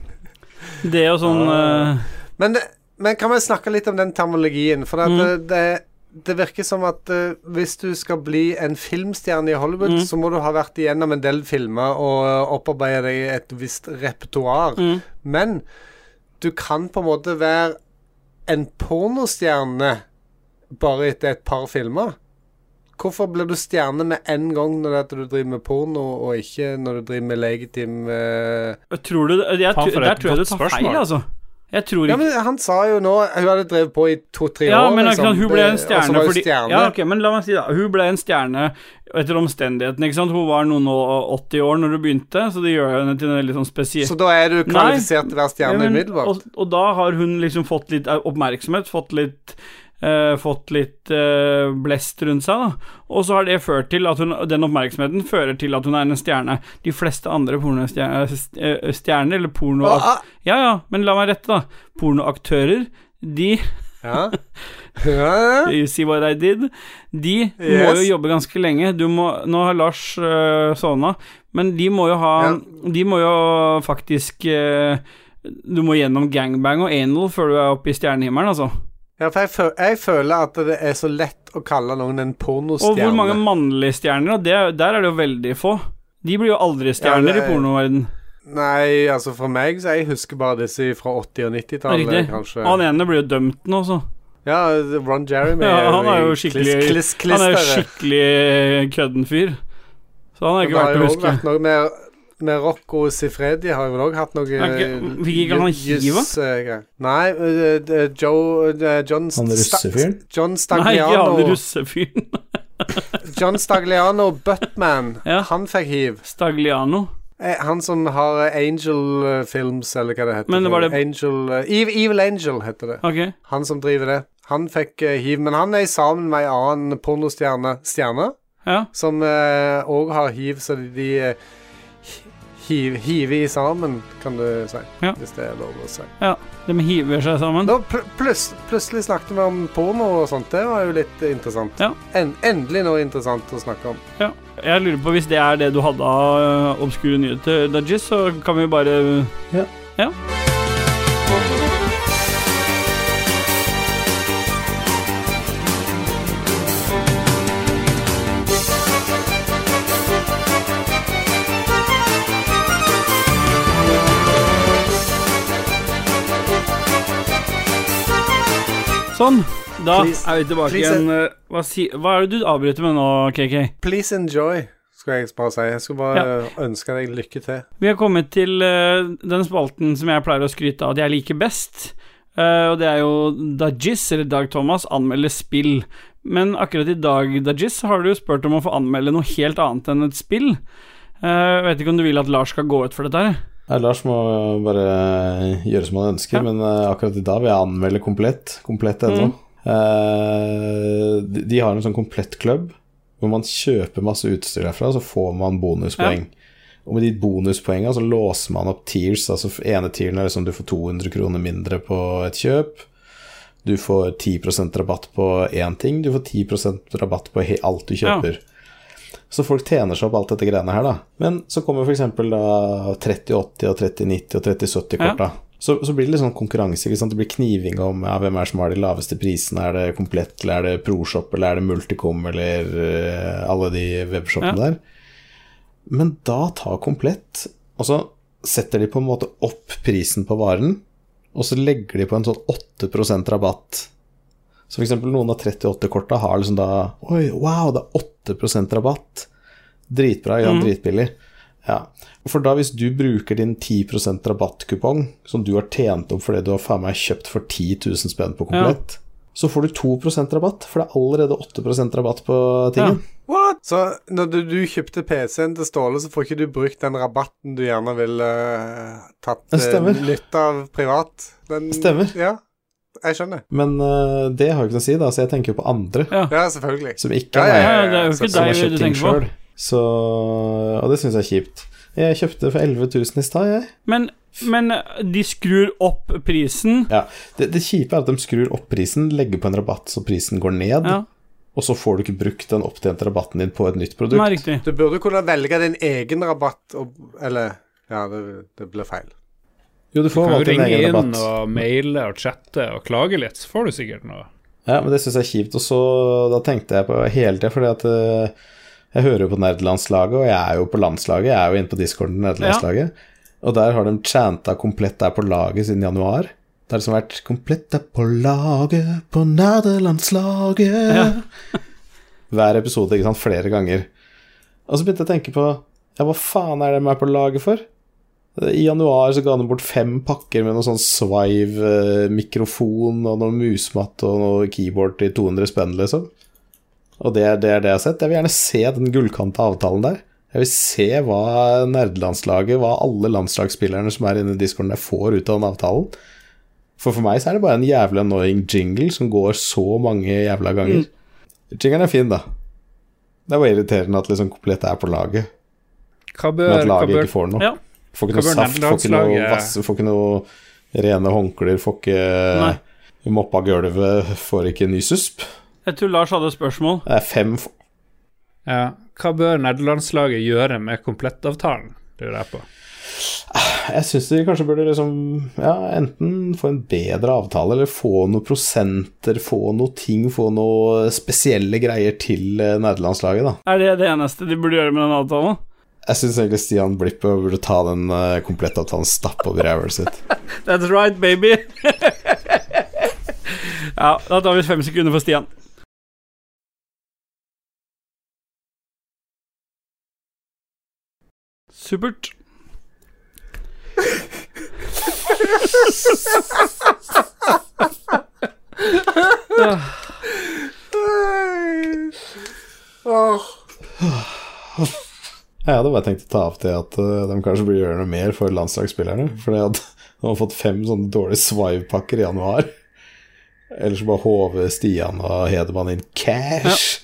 Det og sånn Ah. eh, Men, det- men kan vi snakke litt om den termologien? For at eh, Mm. det, det, det virker som at eh, hvis du skal bli en filmstjerne i Hollywood, Mm. så må du ha vært igjennom en del filmer og eh, opparbeide deg et visst repertoar. mm. Men du kan på en måte være en pornostjerne bare etter et par filmer. Hvorfor blir du stjerne med en gang når det er at du driver med porno, og ikke når du driver med legitim eh, Tror du det? Jeg, Faen, tror- for Der et tror jeg du godt tar spørsmål. feil, altså. Jeg tror Ja, ikke men Han sa jo nå Hun hadde drevet på i to-tre Ja, år. men liksom. akkurat, hun ble en Det- og så var stjerne hun fordi stjerne. Ja, ok, men la meg si da Hun ble en stjerne etter omstendighetene, ikke sant? Hun var noen og 80 år når hun begynte, så det gjør henne til en litt sånn spesiell Så da er du kvalifisert til å Ja, være stjerne men- umiddelbart. Og, og da har hun liksom fått litt eh, oppmerksomhet, fått litt eh, fått litt eh, blest rundt seg, da. Og så har det ført til at hun Den oppmerksomheten fører til at hun er en stjerne. De fleste andre pornostjerner st- eh, stjerner, eller porno... Og- ah, Ja ja, men la meg rette, da. Pornoaktører, [LAUGHS] de Ja. Ja. You see what I did? De må Yes. jo jobbe ganske lenge. Du må, nå har Lars øh, sovna, men de må jo ha De må jo faktisk øh, Du må gjennom gangbang og anal før du er oppe i stjernehimmelen, altså. ja, for jeg, føl jeg føler at det er så lett å kalle noen en pornostjerne. Og hvor mange mannlige stjerner? Og det, der er det jo veldig få. De blir jo aldri stjerner Ja, det er- i pornoverden Nei, altså for meg så jeg husker bare disse fra 80- og Riktig. 90-tallet, kanskje. Han ene blir jo dømt nå, så. Ja, Ron Jeremy. Ja, han er jo i skikkelig kliss, kliss, Han er jo klisteret. skikkelig kødden fyr. Så han er Men ikke Det har verdt jo å også huske. vært noe med med Rocco Sifredi har jeg vel òg hatt noe Er ikke- fikk ikke han ju- hiva? juss, eh, greier. Nei, eh, det er Joe eh, Han John Sta- russefyren? John Nei, ikke han Stagliano, russefyren. John Stagliano Buttman, [LAUGHS] Ja. han fikk hiv. Stagliano. Eh, Han som har eh, Angel eh, Films, eller hva det heter. Men for var det- noe. Angel, eh, Evil, Evil Angel heter det. Ok. Han som driver det. Han fikk eh, hiv, men han er sammen med ei annen pornostjerne stjerne, Ja. som òg har hiv, så de eh, hiv, hiver i sammen, kan du si. Ja. Hvis det er lov å si. De hiver seg sammen. Nå pl pluss, plutselig snakket vi om porno og sånt. Det var jo litt eh, interessant. Ja. En, endelig noe interessant å snakke om. Jeg lurer på hvis det er det du hadde av øh, obskure nyheter, Dudgies, så kan vi bare Ja. ja. Sånn. Da Please. er vi tilbake Please, igjen. øh, Hva, si, hva er det du avbryter med nå, KK? Please enjoy, skulle jeg bare si. Jeg skulle bare Ja. eh, ønske deg lykke til. Vi har kommet til eh, den spalten som jeg pleier å skryte av at jeg liker best. Eh, og det er jo Dajis, eller Dag Thomas, anmelder spill. Men akkurat i dag, Dajis, har du jo spurt om å få anmelde noe helt annet enn et spill. Eh, Jeg vet ikke om du vil at Lars skal gå ut for dette her? Nei, Lars må bare gjøre som han ønsker, Ja. men eh, akkurat i dag vil jeg anmelde komplett. Komplett.no. Eh, de- de har en sånn komplett-klubb hvor man kjøper masse utstyr derfra, og så får man bonuspoeng. Og med de bonuspoengene så låser man opp tiers. Altså ene tieren er liksom du får 200 kroner mindre på et kjøp. Du får 10 rabatt på én ting. Du får 10 rabatt på he- alt du Ja. kjøper. Så folk tjener seg opp alt dette greiene her, da. Men så kommer f.eks. da 3080 og 3090 og 3070-korta. Så, så blir det litt sånn konkurranse. ikke sant? Det blir kniving om ja, hvem er det som har de laveste prisene. Er det Komplett, eller er det ProShop, eller er det Multicom, eller eh, alle de webshopene der. Men da tar Komplett Og så setter de på en måte opp prisen på varen, og så legger de på en sånn 8 rabatt. Så for eksempel noen av 38-korta har liksom da Oi, wow, det er 8 rabatt. Dritbra, ja, dritbillig. Ja. For da hvis du bruker din 10 rabattkupong, som du har tjent opp fordi du har faen meg kjøpt for 10 000 spenn på komplett, så får du 2 rabatt, for det er allerede 8 rabatt på tingen. What? Så når du, du kjøpte PC-en til Ståle, så får ikke du brukt den rabatten du gjerne ville eh, tatt Det stemmer. eh, nytte av privat? Den, Stemmer. Ja, jeg skjønner. Men eh, det har jo ikke noe å si, da, så jeg tenker jo på andre Ja. Ja, selvfølgelig. som ikke Ja, ja, er Ja, ja, det er jo så- ikke som har deg kjøpt du ting tenker på. sjøl. Så Og det syns jeg er kjipt. Jeg kjøpte for 11 000 i stad, jeg. Men, men eh, de skrur opp prisen. Ja. Det, det kjipe er at de skrur opp prisen, legger på en rabatt så prisen går ned, Ja, og så får du ikke brukt den opptjente rabatten din på et nytt produkt. Nei, riktig. Du burde kunne velge din egen rabatt og Eller Ja, det, det ble feil. Jo, du får Kan jo valgt din ringe egen inn rabatt. og maile og chatte og klage litt, så får du sikkert noe. Ja, men det syns jeg er kjipt. Og så da tenkte jeg på hele tida, fordi at eh, jeg hører jo på nerdelandslaget, og jeg er jo på landslaget, jeg er jo inne på discorden til nerdelandslaget, og der har de chanta 'Komplett er på laget' siden januar. Det har liksom vært 'Komplett er på laget, på nerdelandslaget' [LAUGHS] Hver episode, ikke sant, flere ganger. Og så begynte jeg å tenke på Ja, hva faen er det de er på laget for? I januar så ga de bort fem pakker med noe sånn Swive-mikrofon og noe musmatt og noe keyboard til 200 spenn, liksom. Og det er det, er det jeg har sett. Jeg vil gjerne se den gullkanta avtalen der. Jeg vil se hva nerdelandslaget, hva alle landslagsspillerne som er inne i discorden der, får ut av den avtalen. For for meg så er det bare en jævlig annoying jingle som går så mange jævla ganger. Mm. Jinglen er fin, da. Det er bare irriterende at liksom komplett er på laget, Hva men bør, at hva laget bør ikke får noe. Ja. Får ikke noe Hva bør saft, får ikke noe nederlandslaget- vass, får ikke noe rene håndklær, får ikke Nei. moppa gulvet, får ikke ny susp. Jeg tror Lars hadde et spørsmål. Det er fem f- ja, Hva bør nederlandslaget gjøre med komplettavtalen? Lurer jeg på. Jeg syns de kanskje burde liksom Ja, enten få en bedre avtale, eller få noen prosenter, få noe ting, få noe spesielle greier til eh, nederlandslaget, da. Er det det eneste de burde gjøre med den avtalen? Jeg syns egentlig Stian Blippe burde ta den eh, komplettavtalen stapp over ræva sitt. That's right, baby. [LAUGHS] ja, da tar vi fem sekunder for Stian. Supert. Åh. [LAUGHS] Jeg hadde bare tenkt å ta opp det at eh, de kanskje burde gjøre noe mer for landslagsspillerne. Fordi at [LAUGHS] de har fått fem sånne dårlige swive-pakker i januar. Ellers bare håver Stian og Hedemann inn cash.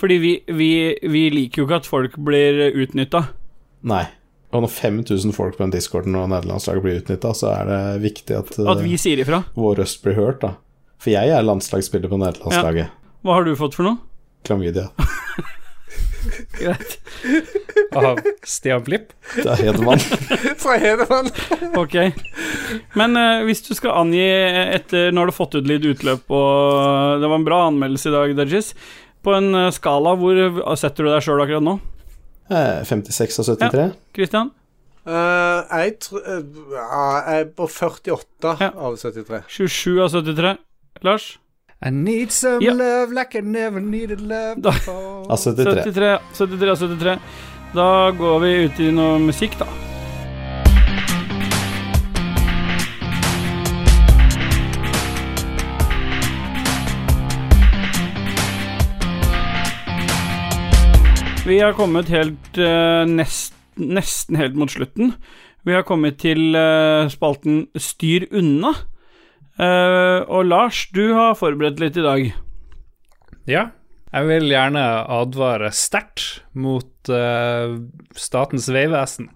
Fordi vi, vi, vi liker jo ikke at folk blir utnytta. Nei. Og når 5000 folk på den discorden og nederlandslaget blir utnytta, så er det viktig at, eh, At vi sier ifra. vår røst blir hørt, da. For jeg er landslagsspiller på nederlandslaget. Hva har du fått for noe? Klamydia. Greit. Av Stian Blipp. Det er Hedemann. [LAUGHS] Fra Hedemann. [LAUGHS] Ok. Men eh, hvis du skal angi etter Nå har du fått ut litt utløp, og det var en bra anmeldelse i dag, Dudgies. På en eh, skala, hvor setter du deg sjøl akkurat nå? Eh, 56 av 73. Christian? Eh, jeg tror eh, ja, Jeg er på 48 Ja. av 73. 27 av 73. Lars? I need some Ja. love like I never needed love Da- before. Av 73. 73 73 av 73. Da går vi ut i noe musikk, da. Vi har kommet helt eh, nest, nesten helt mot slutten. Vi har kommet til eh, spalten Styr unna. Eh, og Lars, du har forberedt litt i dag. Ja. Jeg vil gjerne advare sterkt mot eh, Statens vegvesen.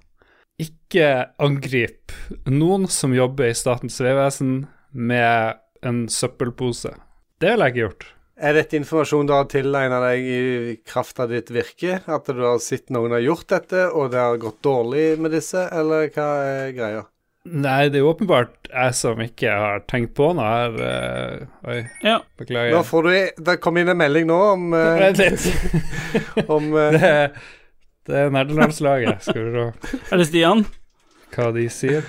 Ikke angrip noen som jobber i Statens vegvesen med en søppelpose. Det ville jeg ikke gjort. Er dette informasjon du har tilegna deg i kraft av ditt virke? At du har sett noen har gjort dette, og det har gått dårlig med disse, eller hva er greia? Nei, det er åpenbart jeg som ikke har tenkt på noe her. eh, oi, Ja. Nå beklager. [LAUGHS] får du i- Det kom inn en melding nå om, eh, Vent litt. [LAUGHS] om eh, Det, det er nerdelandslaget. Skal vi se Er det Stian? hva de sier.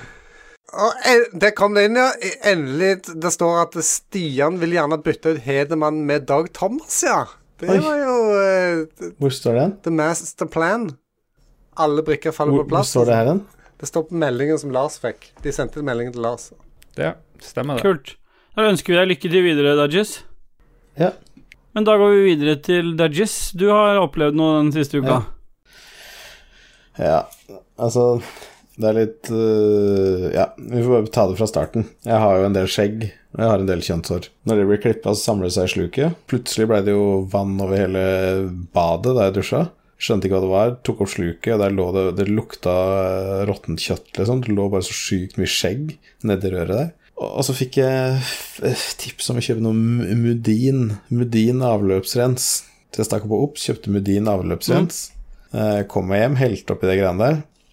å, en- Der kom det inn, ja. Endelig. Det står at Stian vil gjerne bytte ut Hedemann med Dag Thomas, ja. Det Oi. var jo eh, Hvor står det hen? the master plan. Alle brikker faller Hvor, på hvor plass. liksom? står det her hen? Det står på meldingen som Lars fikk. De sendte meldingen til Lars. Ja, stemmer det. Kult. Da ønsker vi deg lykke til videre, Dudgies. Ja. Men da går vi videre til Dudgies. Du har opplevd noe den siste uka. Ja, altså Det er litt øh, Ja, vi får bare ta det fra starten. Jeg har jo en del skjegg, og jeg har en del kjønnshår. Når det blir klippa, så samler det seg i sluket. Plutselig ble det jo vann over hele badet da jeg dusja. Skjønte ikke hva det var, tok opp sluket, og der lå det Det lukta øh, råttent kjøtt, liksom. Det lå bare så sjukt mye skjegg nedi røret der. Og og så fikk jeg øh, tips om å kjøpe noe M- Mudin. Mudin avløpsrens. Så jeg stakk på Ops, kjøpte Mudin avløpsrens. Mm. Eh, Kom meg hjem, helte oppi det greiene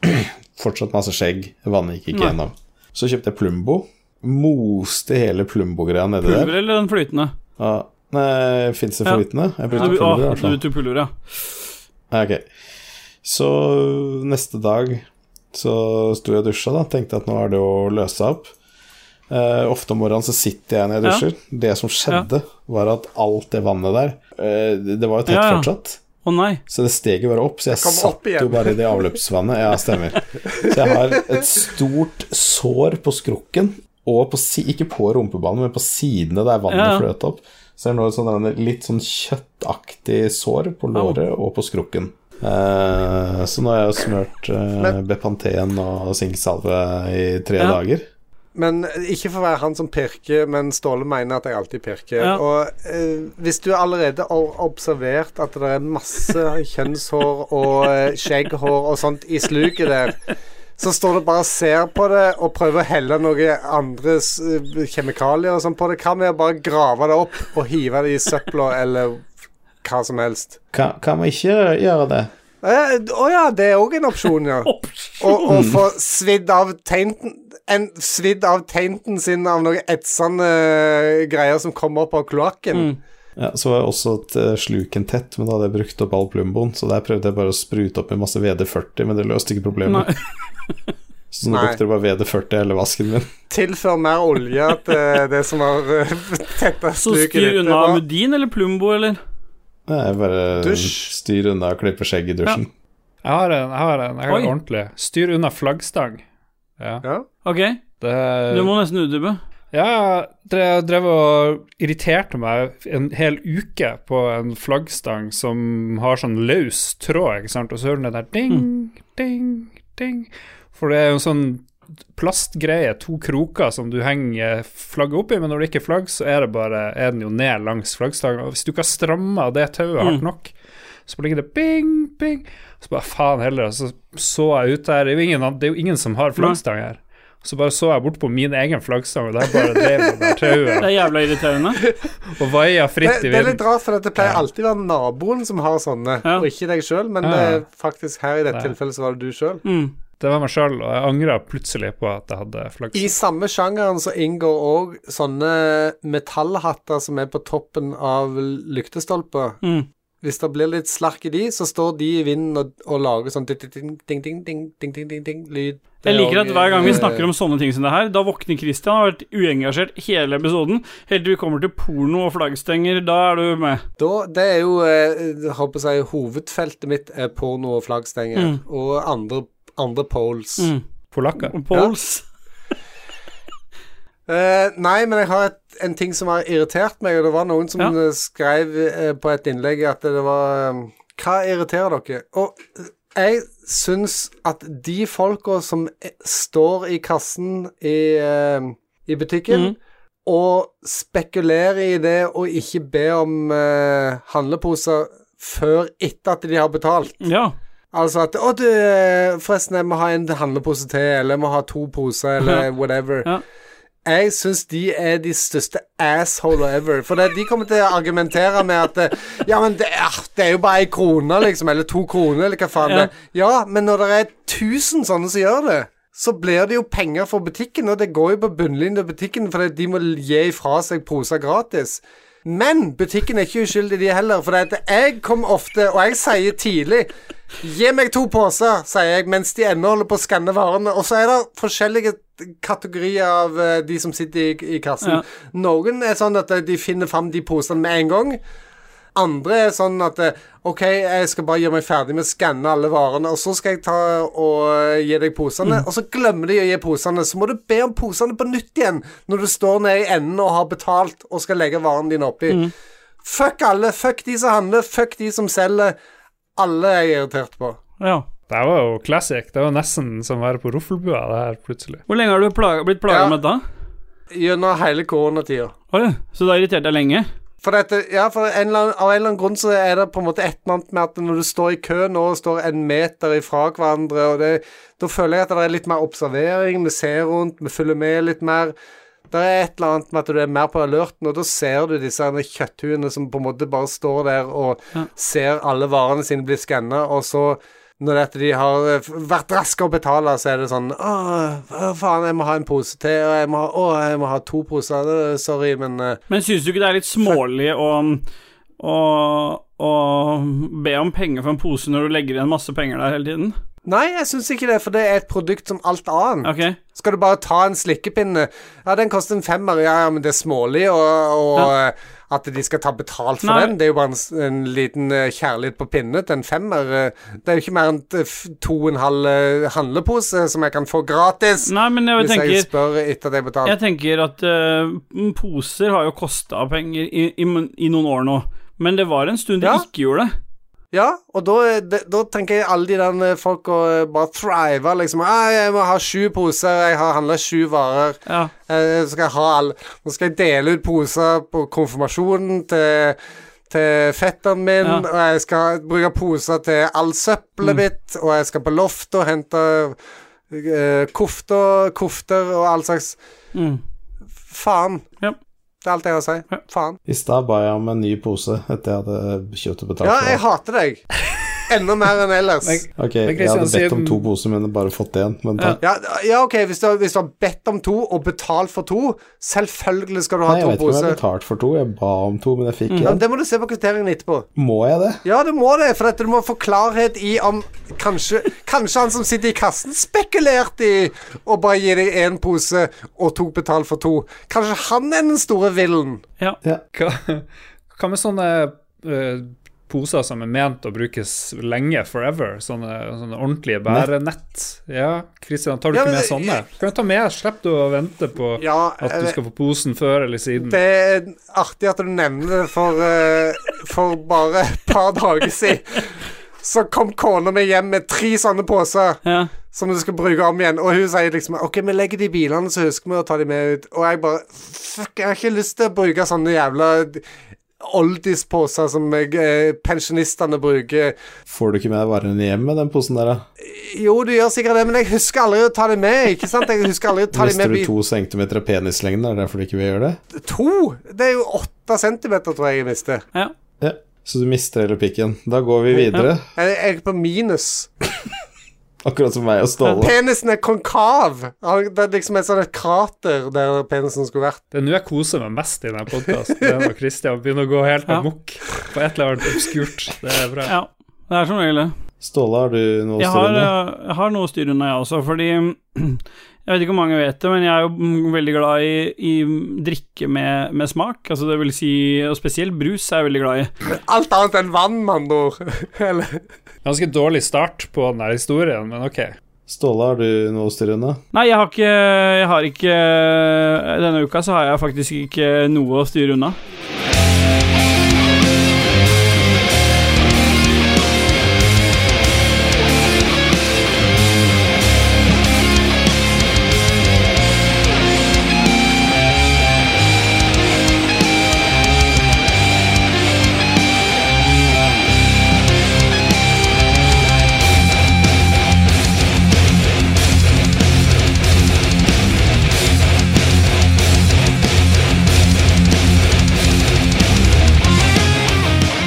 der. [CLEARS THROAT] Fortsatt masse skjegg. Vannet gikk ikke Nei. gjennom. Så kjøpte jeg Plumbo. Moste hele Plumbo-greia nedi Pulver der. eller den flytende? Ah, nei, fins det Ja. flytende? Jeg Du, brukte å, Plumbo, i hvert du fall. tok pulver, ja. Nei, Ok. Så neste dag så sto jeg og dusja, da. Tenkte at nå er det å løse seg opp. Eh, ofte om morgenen så sitter jeg når jeg Ja. dusjer. Det som skjedde, var at alt det vannet der eh, det- Det var jo tett Ja, ja. fortsatt. Å nei. Så det steg jo bare opp, så jeg kom opp satt jo igjen. bare i det avløpsvannet. Ja, stemmer. Så jeg har et stort sår på skrukken, og på si ikke på rumpebanen, men på sidene der vannet Ja, ja. fløt opp. Så jeg har nå et sånn der litt sånn kjøttaktig sår på låret og på skrukken. Eh, så nå har jeg jo smørt uh, Bepanten og sinksalve i tre Ja. dager. Men ikke for å være han som pirker, men Ståle mener at jeg alltid pirker. Ja. Og eh, hvis du allerede har observert at det er masse kjønnshår og eh, skjegghår og sånt i sluket der, så står du bare og ser på det og prøver å helle noe andre s- kjemikalier og sånn på det. Hva med å bare grave det opp og hive det i søpla eller hva som helst? Kan, kan man ikke gjøre det? Å ja, å ja, det er òg en opsjon, ja. Og, og få svidd av teinten en, Svidd av teinten sin av noen etsende eh, greier som kommer opp av kloakken. Ja, så var jeg også t- sluken tett, men da hadde jeg brukt opp all plumboen, så der prøvde jeg bare å sprute opp med masse VD40, men det løste ikke problemet. Nei. [LAUGHS] Så nå Nei. brukte jeg bare VD40 i hele vasken min. Tilfør mer olje til det som har eh, tetta Så sluket styr ditt. Det unna var- Mudin eller Plumbo, eller? Jeg bare Dusj. styr unna og klipper skjegg i dusjen. Jeg har en, jeg har en, jeg har en Oi. ordentlig. Styr unna flaggstang. Ja. Ja. Ok. Det, Du må nesten utdype. Ja, jeg drev og irriterte meg en hel uke på en flaggstang som har sånn løs tråd, ikke sant, og så hører du den der ding, ding, ding. For det er jo en sånn plastgreie, to kroker som du henger flagget oppi, men når det ikke er flagg, så er, det bare, er den jo ned langs flaggstanga. Hvis du ikke har stramma det tauet hardt Mm. nok, så ligger det bing, bing, så bare faen heller, og så så jeg ut der, det er jo ingen, det er jo ingen som har flaggstang her. Så bare så jeg bort på min egen flaggstang, og der bare drev det der Det tauet er jævla irriterende. og vaia Det, fritt det i er litt vinden. rart, for det pleier alltid å være naboen som har sånne, Ja. og ikke deg sjøl. Men Ja. det er faktisk her i dette Ja. tilfellet så var det du sjøl. Mm. Det var meg sjøl, og jeg angra plutselig på at jeg hadde I flaggstang. samme sjangeren så inngår òg sånne metallhatter som er på toppen av lyktestolper. Mm. Hvis det blir litt slark i de, så står de i vinden og, og lager sånn ding-ding-ding-ding-ding-ding-ding-lyd. Jeg liker at hver gang vi snakker om sånne ting som det her, da våkner Christian og har vært uengasjert hele episoden. Helt til vi kommer til porno og flaggstenger, da er du med. da, Det er jo eh, jeg håper jeg, hovedfeltet mitt er porno og flaggstenger. Og andre, andre poles. Mm. Polakker. Pols. Eh, nei, men jeg har et, en ting som har irritert meg, og det var noen som Ja. eh, skrev eh, på et innlegg at det var eh, Hva irriterer dere? Og eh, jeg syns at de folka som eh, står i kassen i, eh, i butikken og spekulerer i det og ikke ber om eh, handleposer før etter at de har betalt Ja. Altså at Å, du, eh, forresten, jeg må ha en handlepose til, eller jeg må ha to poser, eller [LAUGHS] Ja. whatever. Ja. Jeg syns de er de største assholer ever. For det, de kommer til å argumentere med at eh, Ja, men det er, det er jo bare ei krone, liksom. Eller to kroner, eller hva faen Ja. det er. Ja, men når det er 1000 sånne som gjør det, så blir det jo penger for butikken, og det går jo på bunnlinjen til butikken, for de må gi ifra seg poser gratis. Men butikken er ikke uskyldig, de heller. For det at jeg kommer ofte, og jeg sier tidlig Gi meg to poser, sier jeg, mens de ennå holder på å skanne varene. Og så er det forskjellige kategorier av eh, de som sitter i, i kassen. Ja. Noen er sånn at eh, de finner fram de posene med en gang. Andre er sånn at eh, OK, jeg skal bare gjøre meg ferdig med å skanne alle varene, og så skal jeg ta og eh, gi deg posene. Og så glemmer de å gi posene. Så må du be om posene på nytt igjen når du står nede i enden og har betalt og skal legge varene dine oppi. Fuck alle. Fuck de som handler. Fuck de som selger. Alle er jeg irritert på. ja. Det her var jo classic. Det var nesten som å være på Roffelbua, det her plutselig. Hvor lenge har du plaga, blitt plaga Ja. med dette? Gjennom hele koronatida. Oi, så du har irritert deg lenge? For, dette, ja, for en eller annen, av en eller annen grunn så er det på en måte et eller annet med at når du står i kø nå og står en meter ifra hverandre, og det, da føler jeg at det er litt mer observering, vi ser rundt, vi følger med litt mer. Det er et eller annet med at du er mer på alerten, og da ser du disse her kjøtthuene som på en måte bare står der og ser alle varene sine bli skanna, og så når det er at de har eh, vært raske å betale, så er det sånn Å, hva faen, jeg må ha en pose til, og jeg må ha, å, jeg må ha to poser. Eh, Sorry, men eh, Men syns du ikke det er litt smålig å, å, å be om penger for en pose når du legger igjen masse penger der hele tiden? Nei, jeg syns ikke det, for det er et produkt som alt annet. Ok. Skal du bare ta en slikkepinne Ja, den koster en femmer, ja, ja, men det er smålig, og, og eh, at de skal ta betalt for Nei. den. Det er jo bare en, s- en liten eh, kjærlighet på pinne til en femmer. eh. Det er jo ikke mer enn eh, f- to og en halv eh, handlepose som jeg kan få gratis Nei, men jeg hvis tenker jeg spør etter at jeg har betalt. Jeg tenker at eh, poser har jo kosta penger i, i, i noen år nå, men det var en stund de Ja. ikke gjorde det. Ja, og da, er det- da tenker jeg alle de der eh, folka eh, bare thriver, liksom. Ah, 'Jeg må ha sju poser, jeg har handla sju varer.' Ja. Jeg Eh, skal ha all, nå skal jeg dele ut poser på konfirmasjonen til, til fetteren min, Ja. Mm. og jeg skal bruke poser til all søppelet mitt, og jeg skal på loftet og hente eh, kofter, kofter og all slags Mm. Faen. Ja. Det er alt jeg har å si. Ja. Faen. I stad ba jeg om en ny pose etter jeg hadde kjøpt og betalt Ja, for jeg alt. hater deg. Enda mer enn ellers. Men- Ok, jeg Christian, hadde bedt om siden- to poser, men bare fått én. Men Ja. takk. Ja, ja OK, hvis du, har- hvis du har bedt om to og betalt for to, selvfølgelig skal du ha Nei, jeg to vet ikke om jeg poser. betalte for to. Jeg ba om to, men jeg fikk Mm. Ja, én. men det må du se på kvitteringen etterpå. Må jeg det? Ja, du må det, for at du må få klarhet i om Kanskje, kanskje han som sitter i kassen, spekulerte i å bare gi deg én pose og tok betalt for to. Kanskje han er den store villen. ja. Hva, hva med sånne eh, poser som er ment å brukes lenge, forever. Sånne, sånne ordentlige bærenett. Ja, Kristian, tar du Ja, ikke men- med sånne? Kan du ta med? Slipper du å vente på Ja, eh, at du jeg- skal få posen før eller siden? Det er artig at du nevner det, for, eh, for bare et par dager siden så kom kona mi hjem med tre sånne poser Ja. som du skal bruke om igjen. Og hun sier liksom OK, vi legger de i bilene, så husker vi å ta de med ut. Og jeg bare Fuck, jeg har ikke lyst til å bruke sånne jævla oldisposer som jeg, eh, pensjonistene bruker. Får du ikke med deg varene hjem med den posen der, da? Jo, du gjør sikkert det, men jeg husker aldri å ta de med, ikke sant? Jeg husker aldri å ta de Mister med du bi- to centimeter av penislengden, er det derfor du ikke vil gjøre det? To? Det er jo åtte centimeter, tror jeg jeg mister. ja. Ja. Så du mister hele pikken. Da går vi videre. Jeg jeg er på minus. Akkurat som meg og Ståle. Penisen er konkav. Han- Det er liksom et sånt et krater der penisen skulle vært. Det er nå jeg koser meg mest i denne podkasten. Når Kristian begynner å gå helt Ja. amok på et eller annet obskurt. Det er bra. ja. Det er som regel det. Ståle, har du noe å Jeg stå har, under? eh, jeg har noe styr unna, jeg også, fordi [CLEARS THROAT] Jeg vet ikke om mange vet det, men jeg er jo mm, veldig glad i, i drikke med, med smak. Altså det vil si, og spesielt brus er jeg veldig glad i. Alt annet enn vann, med andre ord. [LAUGHS] Eller- Ganske dårlig start på den her historien, men OK. eh, Ståle, har du noe å styre unna? Nei, jeg har ikke, jeg har ikke eh, Denne uka så har jeg faktisk ikke noe å styre unna.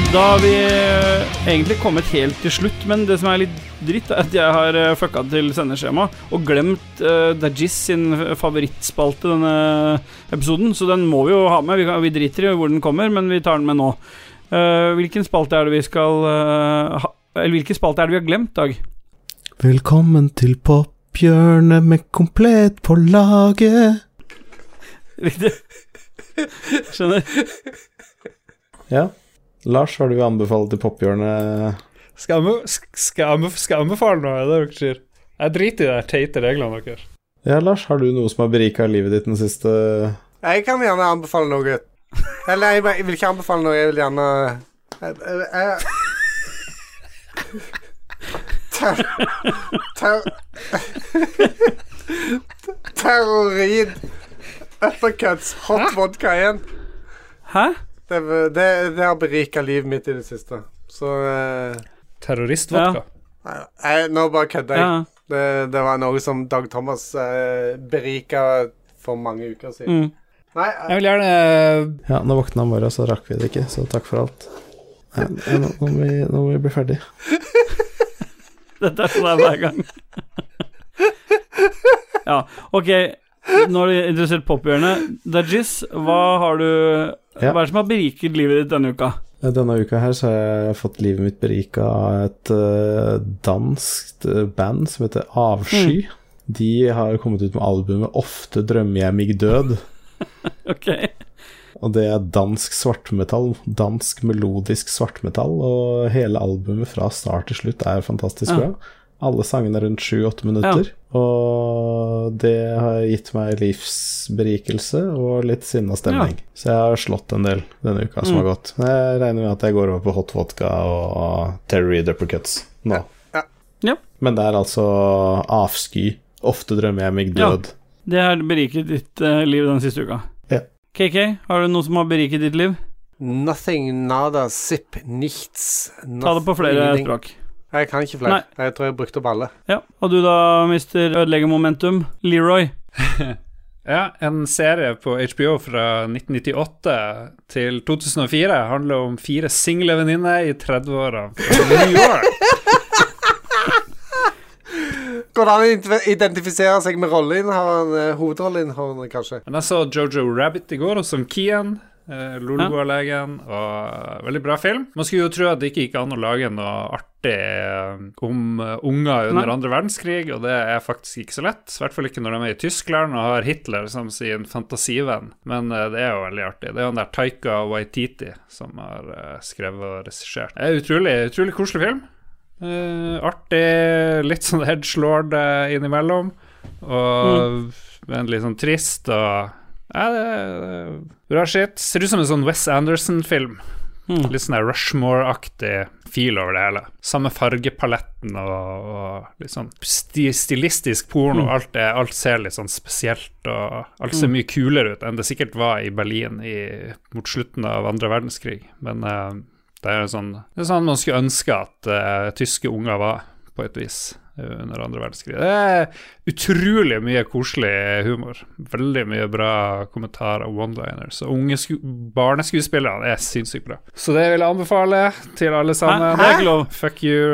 Da har vi eh, egentlig kommet helt til slutt, men det som er litt dritt, er at jeg har eh, fucka til sendeskjema og glemt uh, Dajis sin favorittspalte denne episoden, så den må vi jo ha med. Vi, kan, vi driter i hvor den kommer, men vi tar den med nå. Eh, hvilken spalte er det vi skal eh, ha Eller hvilken spalte er det vi har glemt, Dag? [LAUGHS] Velkommen til pophjørnet med komplett på laget. Riktig. Skjønner. Ja. Lars, har du anbefalt til pophjørnet? Skal jeg, anbe- skal, jeg anbe- skal jeg anbefale noe? Det er det dere sier. Jeg driter i de der teite reglene deres. Ja, Lars, har du noe som har berika livet ditt den siste Jeg kan gjerne anbefale noe. Eller jeg, bare- jeg vil ikke anbefale noe, jeg vil gjerne jeg, jeg, jeg, Ter, ter, terrorid. Uppercuts. Hot vodka igjen. Hæ? Det, det, det har berika livet mitt i det siste. Så eh, Terroristvodka. Nei, nei, nå bare kødder Ja. jeg. Det, det var noe som Dag Thomas eh, berika for mange uker siden. Mm. Nei, eh, Jeg vil gjerne Ja, nå våkna han bare, så rakk vi det ikke, så takk for alt. Nei, nå, nå, må vi, nå må vi bli ferdig. [LAUGHS] Dette er sånn det er hver gang. ja, ok. Nå er du interessert i pophjørnet. Dajis, hva har du Ja. Hva er det som har beriket livet ditt denne uka? [LAUGHS] Denne uka her så har jeg fått livet mitt berika av et eh, danskt eh, band som heter Avsky. De har kommet ut med albumet 'Ofte drømmer jeg mig død'. Ok. Og det er dansk svartmetall. Dansk melodisk svartmetall. Og hele albumet fra start til slutt er fantastisk Ja. bra. Alle sangene er rundt sju-åtte minutter. Og det har gitt meg livsberikelse og litt sinna stemning. Så jeg har slått en del denne uka Mm. som har gått. Men jeg regner med at jeg går over på hot vodka og Terry Duppercuts nå. Ja. Ja. Men det er altså avsky. Ofte drømmer jeg meg Ja. død. Det har beriket ditt eh, liv den siste uka. Ja. KK, har du noe som har beriket ditt liv? Nothing, nada, zip, nichts. Ta det på flere nothing. språk. Jeg kan ikke flere. Jeg tror jeg brukte opp alle. Ja. Og du da, mister ødeleggermomentum? Leroy. Ja, en serie på HBO fra 1998 til 2004 handler om fire single venninner i 30-åra fra New York. Går det an å ident- identifisere seg med rolleinnehaveren, eh, hovedrolleinnehaveren, kanskje? Men jeg så Jojo Rabbit i går, og som Kian. eh, Lolbua-legen, og veldig bra film. Man skulle jo tro at det ikke gikk an å lage noe artig eh, om eh, unger under Nei. andre verdenskrig, og det er faktisk ikke så lett. I hvert fall ikke når de er i Tyskland og har Hitler som sin fantasivenn, men eh, det er jo veldig artig. Det er jo den der Taika Waititi som har eh, skrevet og regissert. Det er utrolig, utrolig koselig film. Eh, artig, litt sånn edgelord eh, innimellom, og men litt sånn trist og ja, det er bra shit. Ser ut som en sånn Wes Anderson-film. Mm. Litt sånn der Rushmore-aktig feel over det hele. Samme fargepaletten og, og litt sånn sti stilistisk porno. Alt, er, alt ser litt sånn spesielt, og alt ser mye kulere ut enn det sikkert var i Berlin i, mot slutten av andre verdenskrig. Men eh, det er jo sånn, det er sånn man skulle ønske at eh, tyske unger var, på et vis, eh, under andre verdenskrig. Det er utrolig mye koselig humor. Veldig mye bra kommentarer og one-liners. Og unge sku barneskuespillere er sinnssykt bra. Så det vil jeg anbefale til alle sammen. det er ikke lov. Fuck you.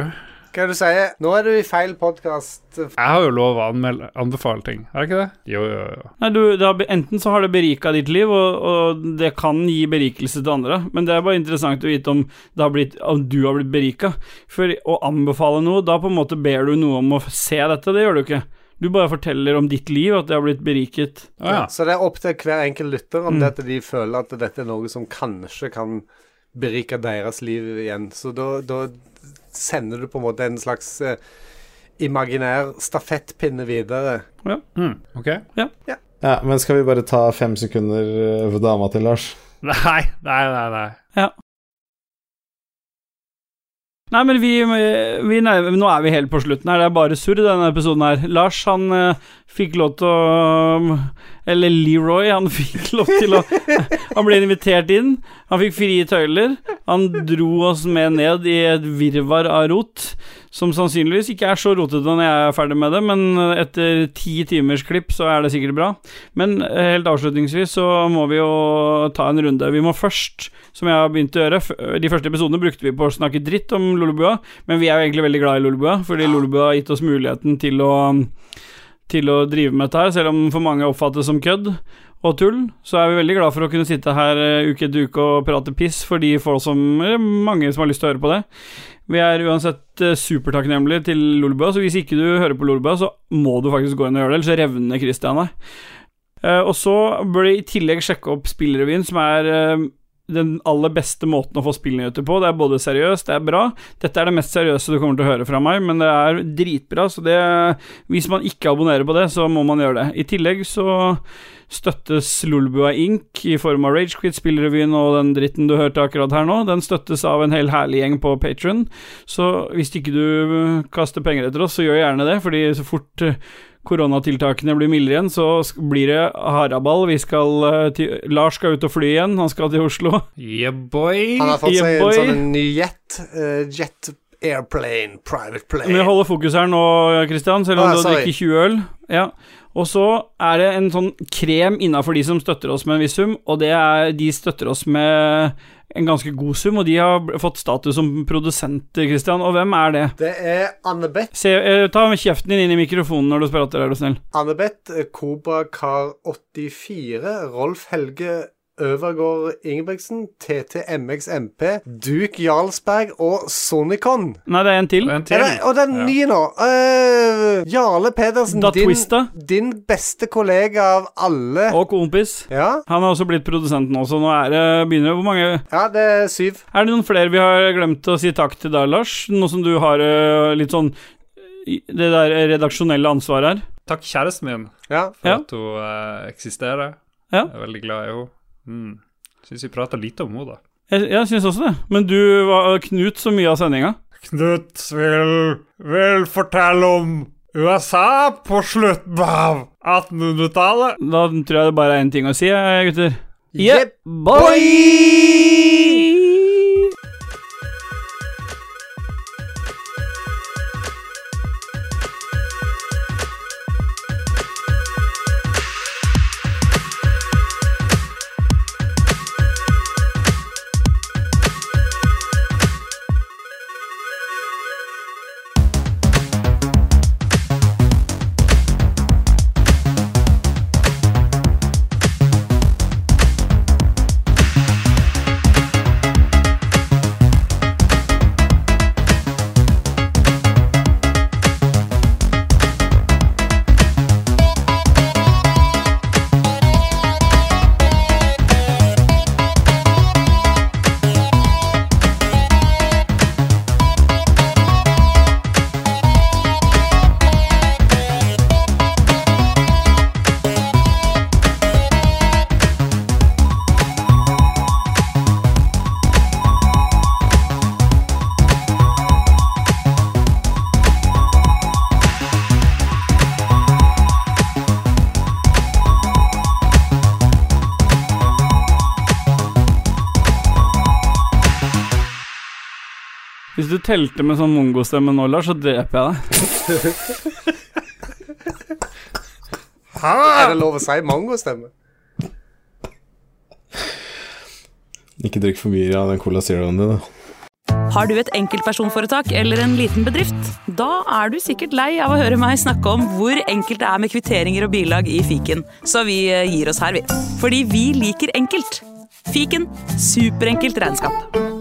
Hva er det du sier? Nå er du i feil eh, podkast. Jeg har jo lov å anmelde, anbefale ting, har jeg ikke det? Jo, jo, jo. Nei, du, det har, be- enten så har det berika ditt liv, og, og det kan gi berikelse til andre, men det er bare interessant å vite om, det har blitt, om du har blitt berika. For å anbefale noe, da på en måte ber du noe om å se dette, det gjør du ikke. Du bare forteller om ditt liv, at det har blitt beriket. Å Ah, ja. Så det er opp til hver enkelt lytter om det at de føler at dette er noe som kanskje kan berike deres liv igjen. Så da, da sender du på en måte en slags eh, imaginær stafettpinne videre. Mm, ok. Ja, men skal vi bare ta fem sekunder eh, for dama til Lars? Nei, nei, nei. nei. Nei, men vi, vi nærmer, Nå er vi helt på slutten her, det er bare surr i denne episoden her. Lars, han eh, fikk lov til å Eller Leroy, han [LAUGHS] fikk lov til å Han ble invitert inn, han fikk frie tøyler. Han dro oss med ned i et virvar av rot, som sannsynligvis ikke er så rotete når jeg er ferdig med det, men etter ti timers klipp så er det sikkert bra. Men eh, helt avslutningsvis så må vi jo ta en runde. Vi må først, som jeg har begynt å gjøre f- eh, De første episodene brukte vi på å snakke dritt om Lolebua, men vi er jo egentlig veldig glad i Lolebua, fordi Lolebua har gitt oss muligheten til å til å drive med dette her, selv om for mange oppfattes som kødd og tull, så er vi veldig glad for å kunne sitte her eh, uke etter uke og prate piss for de få som eller mange som har lyst til å høre på det. Vi er uansett eh, supertakknemlige til Lolebua, så hvis ikke du hører på Lolebua, så må du faktisk gå inn og gjøre det, ellers revner Christian deg. Eh, Og så bør du i tillegg sjekke opp Spillrevyen, som er eh, den aller beste måten å få spillnyheter på. Det er både seriøst, det er bra. Dette er det mest seriøse du kommer til å høre fra meg, men det er dritbra, så det Hvis man ikke abonnerer på det, så må man gjøre det. I tillegg så støttes Lolbua Inc. i form av Ragequit, Spillrevyen og den dritten du hørte akkurat her nå. Den støttes av en hel herlig gjeng på Patron, så hvis ikke du eh, kaster penger etter oss, så gjør gjerne det, fordi så fort eh, koronatiltakene blir mildere igjen, så sk- blir det haraball. Vi skal eh, til Lars skal ut og fly igjen, han skal til Oslo. Eh. Yeah, boy. Han har fått seg Yeah, en boy. sånn en ny jet. eh, jet airplane, private plane. Men jeg holder fokus her nå, Kristian, selv om Ah, du sorry. drikker 20 øl. Ja. Og så er det en sånn krem innafor de som støtter oss med en viss sum, og det er de støtter oss med en ganske god sum, og de har bl- fått status som produsenter, Kristian. Og hvem er det? Det er Annebeth. Se, eh, ta kjeften din inn i mikrofonen når du prater, er du snill. Annebeth Kobrakar84, Rolf Helge Øvergård Ingebrigtsen, TTMXMP, Duke Jarlsberg og Sonicon. Nei, det er en til. En Er til. det, og den Ja. nye nå øh, Jarle Pedersen, Da din, Twista. din beste kollega av alle. Og kompis. Ja, Han har også blitt produsent nå, så nå er det begynner Hvor mange ja, det er syv. Er det noen flere vi har glemt å si takk til deg, Lars? Nå som du har eh, litt sånn i- det der redaksjonelle ansvaret her. Takk, kjæresten min, Ja. for Ja. at hun eh, eksisterer. Ja. Jeg er veldig glad i henne. Mm. Syns vi prater lite om henne, da. Jeg, jeg syns også det. Men du var Knut så mye av sendinga. Knut vil, vil fortelle om USA på slutten av 1800-tallet. Da tror jeg det bare er én ting å si, eh, gutter. Yep, boy! Hvis du telte med sånn mongostemme nå, Lars, så dreper jeg deg. Er det lov å si mangostemme? Ikke drikk for mye av den Cola Zeroen din, da. Har du et enkeltpersonforetak eller en liten bedrift? Da er du sikkert lei av å høre meg snakke om hvor enkelt det er med kvitteringer og bilag i fiken, så vi eh, gir oss her, vi. Fordi vi liker enkelt. Fiken superenkelt regnskap.